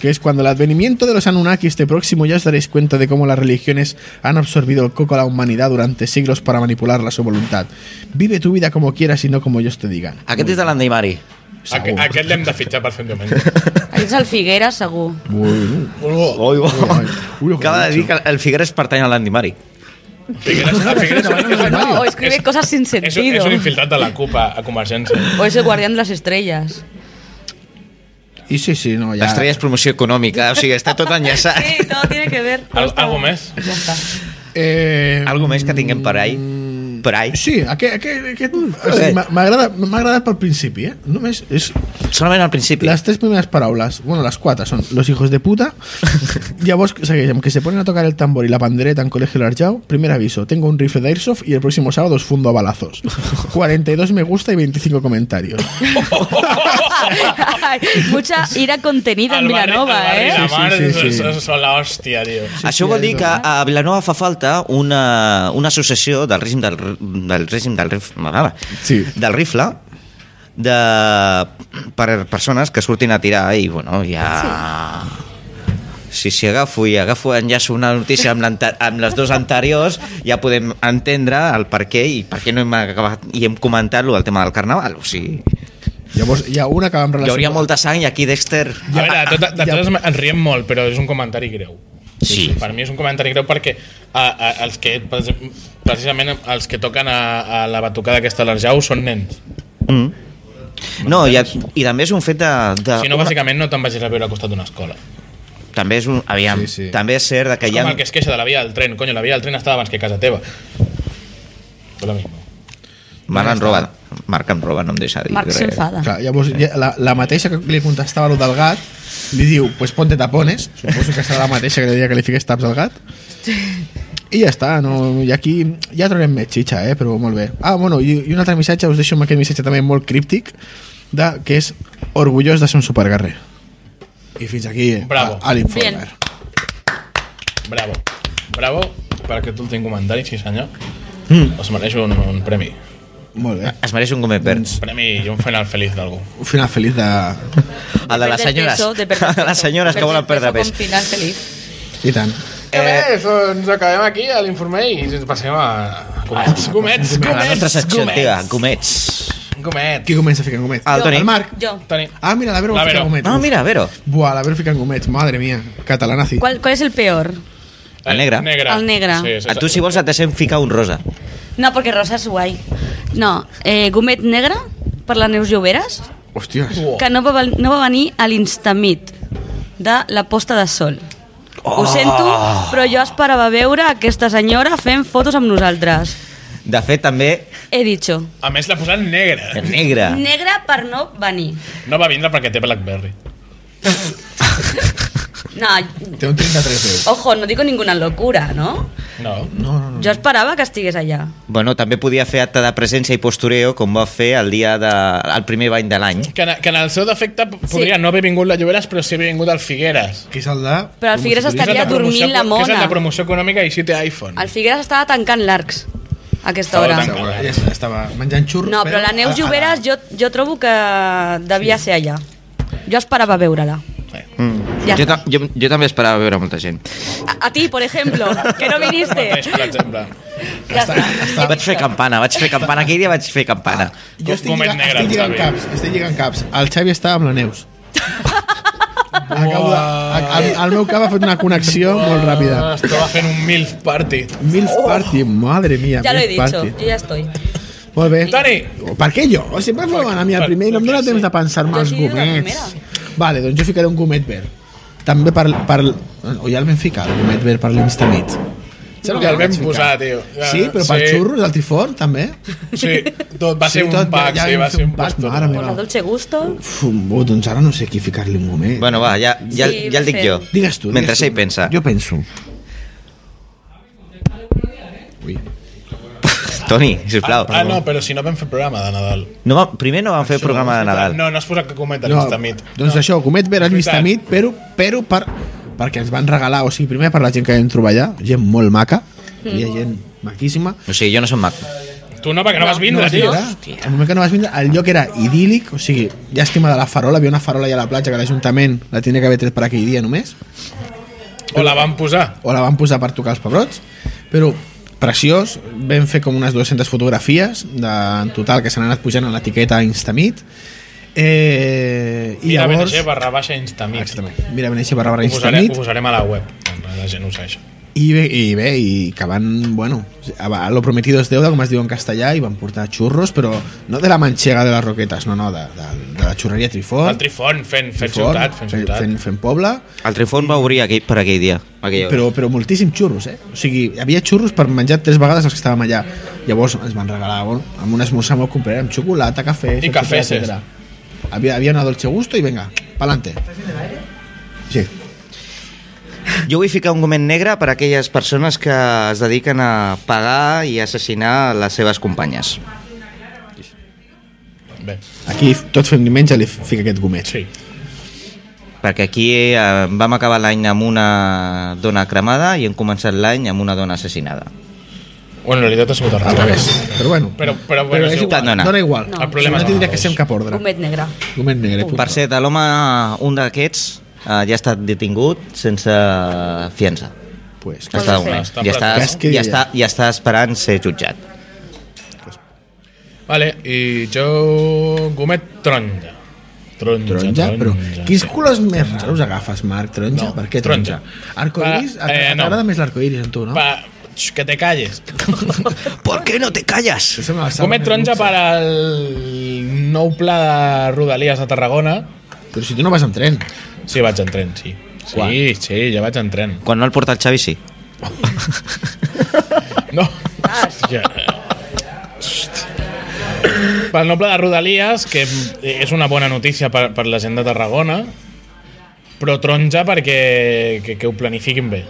[SPEAKER 3] que es cuando el advenimiento de los Anunnaki este próximo ya os daréis cuenta de cómo las religiones han absorbido el coco a la humanidad durante siglos para manipularla a su voluntad. Vive tu vida como quieras y no como ellos te digan.
[SPEAKER 2] Aquest és de l'Andeimari.
[SPEAKER 5] Aqu
[SPEAKER 3] Segur.
[SPEAKER 5] aquest l'hem de fitxar per fer un diumenge.
[SPEAKER 4] Ahí es al Figuera, Sagú.
[SPEAKER 3] Bueno.
[SPEAKER 5] Uh,
[SPEAKER 2] Ui,
[SPEAKER 3] ai. Ui, lo que
[SPEAKER 2] Acaba
[SPEAKER 3] he
[SPEAKER 2] de
[SPEAKER 3] dicho.
[SPEAKER 2] dir que el Figueres pertany a l'Andeimari.
[SPEAKER 5] Figueres, a Figueres
[SPEAKER 3] No, no, no, no,
[SPEAKER 4] No, o escribe cosas sin
[SPEAKER 5] és, un- és
[SPEAKER 4] sentido.
[SPEAKER 5] un infiltrat de la CUP a, a Convergència.
[SPEAKER 4] O es el guardián de las estrellas.
[SPEAKER 3] I sí, sí, no, ja...
[SPEAKER 2] L'estrella és promoció econòmica, o sigui, està tot enllaçat.
[SPEAKER 4] Sí, todo tiene que ver.
[SPEAKER 5] Al, algo més?
[SPEAKER 4] Ya está.
[SPEAKER 3] Eh,
[SPEAKER 2] Algo més que tinguem per ahí?
[SPEAKER 3] mm,
[SPEAKER 2] prall.
[SPEAKER 3] Sí, aquest, aquest, aquest o sigui, m'ha- m'ha agradat, m'ha agradat pel principi, eh? Només és
[SPEAKER 2] Solament al principi.
[SPEAKER 3] les tres primeres paraules, bueno, les quatre són los hijos de puta, llavors segueix amb que se ponen a tocar el tambor y la pandereta en Colegio Larjau, primer aviso, tengo un rifle de airsoft y el próximo sábado os fundo a balazos. 42 me gusta y 25 comentarios.
[SPEAKER 4] Ay, Mucha ira contenida en
[SPEAKER 1] Al barri- al
[SPEAKER 4] Vilanova,
[SPEAKER 1] barri
[SPEAKER 4] ¿eh?
[SPEAKER 1] La
[SPEAKER 3] Sí,
[SPEAKER 1] mar
[SPEAKER 3] sí, sí, sí.
[SPEAKER 1] Són, són l'hòstia, tio.
[SPEAKER 2] Sí, Això vol dir que a Vilanova fa falta una, una associació del règim del, r- del règim del, rif,
[SPEAKER 3] Sí.
[SPEAKER 2] del rifle de, per persones que surtin a tirar i bueno, ja... Si, si agafo i agafo enllaço una notícia amb, l'ante- amb les dues anteriors ja podem entendre el per què i per què no hem acabat i hem comentat el tema del carnaval o sigui,
[SPEAKER 3] Llavors hi ha una que va amb
[SPEAKER 2] hi
[SPEAKER 3] relació...
[SPEAKER 2] hauria molta sang i aquí Dexter
[SPEAKER 1] A veure, de, tot, de
[SPEAKER 3] ja.
[SPEAKER 1] totes maneres, ens riem molt, però és un comentari greu.
[SPEAKER 2] Sí.
[SPEAKER 1] Per mi és un comentari greu perquè a, a, els que, per exemple, precisament els que toquen a, a la batucada aquesta a l'Arjau són nens.
[SPEAKER 2] no, i, i també és un fet de, de
[SPEAKER 1] Si no, bàsicament no te'n vagis a veure al costat d'una escola.
[SPEAKER 2] també és un, aviam,
[SPEAKER 3] Sí,
[SPEAKER 2] sí,
[SPEAKER 3] sí.
[SPEAKER 2] sí. també és cert de que
[SPEAKER 1] És
[SPEAKER 2] hi ha...
[SPEAKER 1] com el que es queixa de la via del tren. Coño, la via del tren estava abans que casa teva. Però lo mismo.
[SPEAKER 2] Marc em roba, Marc em roba, no em deixa dir
[SPEAKER 4] Marc
[SPEAKER 2] res.
[SPEAKER 4] s'enfada.
[SPEAKER 3] Clar, llavors ja- la, la mateixa que li contestava lo del gat li diu, pues ponte tapones suposo que serà la mateixa que li deia que li fiqués taps al gat i ja està no? i aquí ja trobem més xitxa eh? però molt bé, ah bueno, i, i un altre missatge us deixo amb aquest missatge també molt críptic de, que és orgullós de ser un supergarrer i fins aquí eh,
[SPEAKER 1] Bravo.
[SPEAKER 3] a, a l'informer
[SPEAKER 4] Bien.
[SPEAKER 1] Bravo. Bravo per aquest últim comentari, sí senyor.
[SPEAKER 2] Mm.
[SPEAKER 1] Us mereixo un, un premi.
[SPEAKER 3] molt bé,
[SPEAKER 2] Es mereix un gomet verd.
[SPEAKER 4] Doncs
[SPEAKER 1] Un premi i un final feliç d'algú.
[SPEAKER 3] un final feliç de...
[SPEAKER 2] El de les
[SPEAKER 4] Perder
[SPEAKER 2] senyores.
[SPEAKER 4] peso, de perder
[SPEAKER 2] El de les
[SPEAKER 4] peso.
[SPEAKER 2] senyores que
[SPEAKER 4] Perder
[SPEAKER 2] volen perdre pes.
[SPEAKER 4] Con final feliç.
[SPEAKER 3] i tant
[SPEAKER 1] Eh, doncs acabem aquí a l'informer i ens passem a... Comets, Ah, comets,
[SPEAKER 2] A la nostra
[SPEAKER 1] comets,
[SPEAKER 2] secció antiga, gomets.
[SPEAKER 1] Comet.
[SPEAKER 3] qui comença ficant gomets?
[SPEAKER 2] El Toni.
[SPEAKER 3] el Marc
[SPEAKER 4] Yo.
[SPEAKER 1] Toni.
[SPEAKER 3] ah mira, la Vero
[SPEAKER 1] La
[SPEAKER 3] va ficar
[SPEAKER 1] Vero.
[SPEAKER 3] gomets
[SPEAKER 2] No, mira, Vero.
[SPEAKER 3] Buah, la Vero ficant gomets, madre mía catalana sí
[SPEAKER 4] ¿Cuál, ¿Cuál es el peor?
[SPEAKER 2] El negre.
[SPEAKER 1] negre.
[SPEAKER 4] El negre.
[SPEAKER 1] Sí, sí,
[SPEAKER 2] A tu,
[SPEAKER 1] sí.
[SPEAKER 2] si vols, et deixem ficar un rosa.
[SPEAKER 4] No, porque rosa es guay. No, eh, gomet negre per la Neus Lloberes,
[SPEAKER 3] Hòsties.
[SPEAKER 4] que no va, val- no va venir a l'instamit de la posta de sol. Ho sento, però jo esperava veure aquesta senyora fent fotos amb nosaltres.
[SPEAKER 2] De fet, també,
[SPEAKER 4] He dicho.
[SPEAKER 1] A més l'ha posat negre.
[SPEAKER 2] el negre.
[SPEAKER 4] Negra per no venir.
[SPEAKER 1] No va vindre perquè té Blackberry.
[SPEAKER 4] No,
[SPEAKER 3] Té un 33 euros.
[SPEAKER 4] ojo, no digo ninguna locura, no?
[SPEAKER 1] No.
[SPEAKER 3] No, no, no.
[SPEAKER 4] Jo esperava que estigués allà.
[SPEAKER 2] Bueno, també podia fer acte de presència i postureo, com va fer el dia de... el primer bany de l'any.
[SPEAKER 1] Que en, que en el seu defecte p- podria no haver vingut la Lloberes, però sí haver vingut el Figueres.
[SPEAKER 3] Que és el de...
[SPEAKER 4] Però el Figueres
[SPEAKER 1] Que és el
[SPEAKER 4] estaria
[SPEAKER 1] de promoció-
[SPEAKER 4] dormint
[SPEAKER 1] Que
[SPEAKER 4] la
[SPEAKER 1] és el
[SPEAKER 4] mona.
[SPEAKER 1] de promoció econòmica i sí té iPhone.
[SPEAKER 4] El Figueres estava tancant l'arcs a aquesta
[SPEAKER 1] Estava
[SPEAKER 4] hora.
[SPEAKER 1] tancant.
[SPEAKER 3] Segura, ja està, estava menjant xurros.
[SPEAKER 4] No, però la Neus Lloberes jo, jo trobo que devia ser allà. Jo esperava veure-la. Ja
[SPEAKER 2] Jo,
[SPEAKER 4] està.
[SPEAKER 2] ta- jo, jo també esperava veure molta gent.
[SPEAKER 4] A, a ti, por ejemplo, que no viniste.
[SPEAKER 1] Mateix, per exemple.
[SPEAKER 4] Ja està.
[SPEAKER 2] I
[SPEAKER 4] Ah.
[SPEAKER 2] vaig fer campana, vaig fer campana. Aquell dia vaig fer campana.
[SPEAKER 3] Jo estic,
[SPEAKER 1] Gomet
[SPEAKER 3] lligant,
[SPEAKER 1] negre,
[SPEAKER 3] estic lligant
[SPEAKER 1] Xavi.
[SPEAKER 3] caps, estic lligant caps. El Xavi està amb la Neus. Acabo de, a- el, el meu cap ha fet una connexió molt ràpida.
[SPEAKER 1] Ah, Estava fent un MILF party.
[SPEAKER 3] Milf
[SPEAKER 1] Oh.
[SPEAKER 3] Party, madre mía.
[SPEAKER 4] Ya lo he
[SPEAKER 3] Milf
[SPEAKER 4] dicho,
[SPEAKER 3] Party.
[SPEAKER 4] yo ya estoy.
[SPEAKER 3] Molt bé.
[SPEAKER 1] Toni!
[SPEAKER 3] Per què jo? Sempre em fan a mi el
[SPEAKER 1] per-
[SPEAKER 3] primer i no em dóna
[SPEAKER 1] perquè
[SPEAKER 3] temps
[SPEAKER 1] sí.
[SPEAKER 3] de pensar-me
[SPEAKER 4] Jo
[SPEAKER 3] els
[SPEAKER 4] he sido la
[SPEAKER 3] gomets. Vale, doncs jo ficaré un gomet verd. També per... per o ja el vam ficar, el gomet verd per l'instamit. Sembla
[SPEAKER 1] Ja el vam
[SPEAKER 3] vaig ficar.
[SPEAKER 1] posar, tio. Ja,
[SPEAKER 3] Sí, però per
[SPEAKER 1] sí.
[SPEAKER 3] xurros, el tifón, també.
[SPEAKER 1] Sí, tot va
[SPEAKER 3] Sí,
[SPEAKER 1] ser un
[SPEAKER 3] tot,
[SPEAKER 1] pack,
[SPEAKER 3] ja- ja
[SPEAKER 1] sí, va
[SPEAKER 3] vam fer
[SPEAKER 1] ser
[SPEAKER 3] un
[SPEAKER 1] un
[SPEAKER 3] pack,
[SPEAKER 1] postureo.
[SPEAKER 3] mare meva.
[SPEAKER 4] Por la Dolce Gusto.
[SPEAKER 3] Uf, bo, doncs ara no sé qui ficar-li un gomet.
[SPEAKER 2] Bueno, va, ja, ja,
[SPEAKER 4] Sí,
[SPEAKER 2] ja el
[SPEAKER 4] va
[SPEAKER 2] dic
[SPEAKER 4] fer.
[SPEAKER 2] jo.
[SPEAKER 3] digues tu.
[SPEAKER 2] Mentre
[SPEAKER 3] digues tu.
[SPEAKER 2] ell pensa.
[SPEAKER 3] Jo penso. Ui.
[SPEAKER 2] Toni, sisplau.
[SPEAKER 1] Ah, no, però si no vam fer programa de Nadal.
[SPEAKER 2] No, va- primer no vam fer programa de Nadal.
[SPEAKER 1] No, no has posat que comenta
[SPEAKER 3] No,
[SPEAKER 1] l'instamit.
[SPEAKER 3] doncs això, gomet verd al Vistamit, però, però per, perquè ens van regalar, o sigui, primer per la gent que vam trobar allà, gent molt maca, hi havia gent maquíssima.
[SPEAKER 2] O sigui, jo no som mag.
[SPEAKER 1] Tu no, perquè no vas vindre,
[SPEAKER 3] vas
[SPEAKER 1] tio.
[SPEAKER 3] vindre. El moment que no vas vindre, el lloc era idíl·lic, o sigui, llàstima de la farola, hi havia una farola allà a la platja que l'Ajuntament la tenia que haver tret per aquell dia només.
[SPEAKER 1] O la van posar.
[SPEAKER 3] o la van posar per tocar els pebrots però preciós vam fer com unes 200 fotografies de, en total que s'han anat pujant a l'etiqueta Instamit eh, i
[SPEAKER 1] Mira,
[SPEAKER 3] llavors Ah,
[SPEAKER 1] BNG barra baixa Instamix.
[SPEAKER 3] Exactament. mira Beneixer barra barra
[SPEAKER 1] Ho posarem,
[SPEAKER 3] Instamit
[SPEAKER 1] ho posarem a la web. La gent ho segueix.
[SPEAKER 3] I bé, i, bé, i que van, bueno, a va- lo prometido es deuda, com es diu en castellà, i van portar xurros, però no de la manxega de les roquetes, no, no, de, de, de la xurreria Trifort.
[SPEAKER 1] El Trifon fent, fent
[SPEAKER 3] Trifort,
[SPEAKER 1] ciutat, fent ciutat.
[SPEAKER 3] Fent, fent poble,
[SPEAKER 2] El Trifon va obrir aquell, per aquell dia. Aquella hora.
[SPEAKER 3] però, però moltíssim xurros, eh? O sigui, hi havia xurros per menjar tres vegades els que estàvem allà. Llavors ens van regalar, bueno, amb un esmorzar molt complet, amb xocolata, cafè... etcètera,
[SPEAKER 1] cafès. eh.
[SPEAKER 3] etcètera. Havia, havia una dolce gusto i vinga, pa'lante. Sí.
[SPEAKER 2] Jo vull ficar un goment negre per a aquelles persones que es dediquen a pagar i assassinar les seves companyes.
[SPEAKER 1] Bé,
[SPEAKER 3] Aquí tot fem diumenge li fica aquest gomet.
[SPEAKER 1] sí.
[SPEAKER 2] Perquè aquí eh, vam acabar l'any amb una dona cremada i hem començat l'any amb una dona assassinada.
[SPEAKER 1] Bueno, en realitat ha sigut al
[SPEAKER 3] Al revés.
[SPEAKER 1] revés.
[SPEAKER 3] Però bueno.
[SPEAKER 1] Però- però bueno,
[SPEAKER 3] és
[SPEAKER 1] és
[SPEAKER 3] igual.
[SPEAKER 2] igual.
[SPEAKER 3] Dona igual.
[SPEAKER 4] No.
[SPEAKER 1] El problema és
[SPEAKER 3] si no tindria
[SPEAKER 1] el
[SPEAKER 3] que ser
[SPEAKER 1] revés.
[SPEAKER 3] en cap ordre.
[SPEAKER 4] Gomet negre.
[SPEAKER 3] Gomet negre. punt.
[SPEAKER 2] Per cert, l'home, un d'aquests, eh, ja ha estat detingut sense fiança.
[SPEAKER 3] Pues,
[SPEAKER 2] Ha estat un
[SPEAKER 1] Està
[SPEAKER 2] mes.
[SPEAKER 1] apretat,
[SPEAKER 2] I està,
[SPEAKER 3] no?
[SPEAKER 2] i, està, I està esperant ser jutjat.
[SPEAKER 1] Vale, i jo... Gomet taronja. Taronja,
[SPEAKER 3] taronja, però quins colors més raros agafes, Marc? Taronja?
[SPEAKER 1] No,
[SPEAKER 3] per què taronja?
[SPEAKER 1] taronja.
[SPEAKER 3] Arcoiris?
[SPEAKER 1] Va, eh,
[SPEAKER 3] Eh,
[SPEAKER 1] no.
[SPEAKER 3] T'agrada més l'arcoiris a tu, no?
[SPEAKER 1] Pa... Xx, Que te calles.
[SPEAKER 2] ¿Por qué no te callas?
[SPEAKER 3] Això me la saben
[SPEAKER 1] Gomet
[SPEAKER 3] els
[SPEAKER 1] taronja
[SPEAKER 3] luxes.
[SPEAKER 1] per al nou pla de Rodalies a Tarragona.
[SPEAKER 3] Però si tu no vas amb tren.
[SPEAKER 1] Sí, vaig en tren, sí. Sí,
[SPEAKER 2] Quan?
[SPEAKER 1] sí, ja vaig en tren.
[SPEAKER 2] Quan no el porta el Xavi, sí.
[SPEAKER 1] No. Hòstia. Pel noble de Rodalies, que és una bona notícia per, per la gent de Tarragona, però taronja perquè que, que ho planifiquin bé,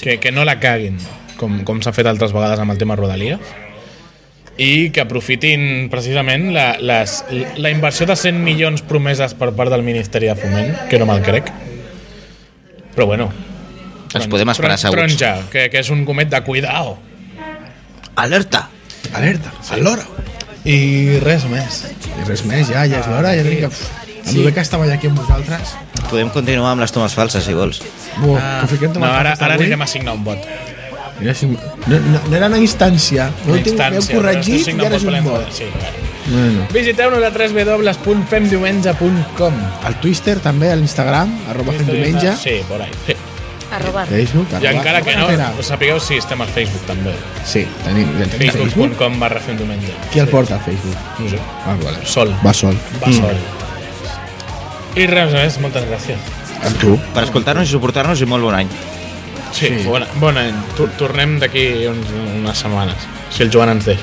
[SPEAKER 1] que, que no la caguin, com, com s'ha fet altres vegades amb el tema Rodalies, i que aprofitin precisament la, les, la inversió de 100 milions promeses per part del Ministeri de Foment, que no me'l crec, però bueno,
[SPEAKER 2] Ens
[SPEAKER 1] Doncs
[SPEAKER 2] podem esperar segurs.
[SPEAKER 1] taronja, que, que és un gomet de cuidao.
[SPEAKER 2] Alerta!
[SPEAKER 3] Alerta, sí. al loro.
[SPEAKER 1] I res més.
[SPEAKER 3] I res més, ja, ja és l'hora. Ja diria, uf, amb sí. bé que estava ja aquí amb vosaltres.
[SPEAKER 2] Podem continuar amb les tomes falses, si vols.
[SPEAKER 3] Buah, ah, que fiquem
[SPEAKER 1] No, ara, ara anirem a signar un vot.
[SPEAKER 3] No, no, no era una instància. No ho tinc, m'heu
[SPEAKER 1] Instància, però
[SPEAKER 3] corregit
[SPEAKER 1] estic
[SPEAKER 3] i ara és un
[SPEAKER 1] signant per
[SPEAKER 3] vot.
[SPEAKER 1] l'entrada, Sí, vale.
[SPEAKER 3] Bueno.
[SPEAKER 1] Visiteu-nos a www.femdiumenge.com
[SPEAKER 3] Al Twitter també, a l'Instagram, arroba fem diumenge.
[SPEAKER 1] Sí, por ahí. Sí.
[SPEAKER 4] Arroba.
[SPEAKER 3] Facebook,
[SPEAKER 1] I
[SPEAKER 3] arroba-
[SPEAKER 1] encara que no,
[SPEAKER 3] Espera.
[SPEAKER 1] ho sapigueu si estem al Facebook també.
[SPEAKER 3] Sí, tenim, ja tenim Facebook.
[SPEAKER 1] Facebook.com barra femdiumenge.
[SPEAKER 3] Qui el porta al Facebook?
[SPEAKER 1] No sé.
[SPEAKER 3] Ah, vale.
[SPEAKER 1] Sol.
[SPEAKER 3] Va Mm. sol.
[SPEAKER 1] Va sol. I res més, moltes gràcies.
[SPEAKER 3] Amb tu.
[SPEAKER 2] Per escoltar-nos i suportar-nos i molt bon any.
[SPEAKER 1] Sí, sí. Bona, bon any. Tor- Tornem d'aquí uns, unes setmanes, si el Joan ens deixa.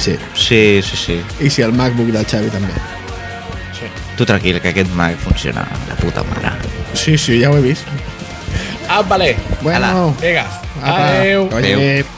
[SPEAKER 3] Sí.
[SPEAKER 2] Sí, sí, sí.
[SPEAKER 3] I si el MacBook del Xavi també.
[SPEAKER 2] Tu tranquil, que aquest mag funciona de puta mare.
[SPEAKER 3] Sí, sí, ja ho he vist.
[SPEAKER 1] Ah, vale.
[SPEAKER 3] Bueno,
[SPEAKER 2] Ala.
[SPEAKER 1] Vinga,
[SPEAKER 3] apa,
[SPEAKER 1] adeu.
[SPEAKER 3] que vagi bé.
[SPEAKER 2] Adeu.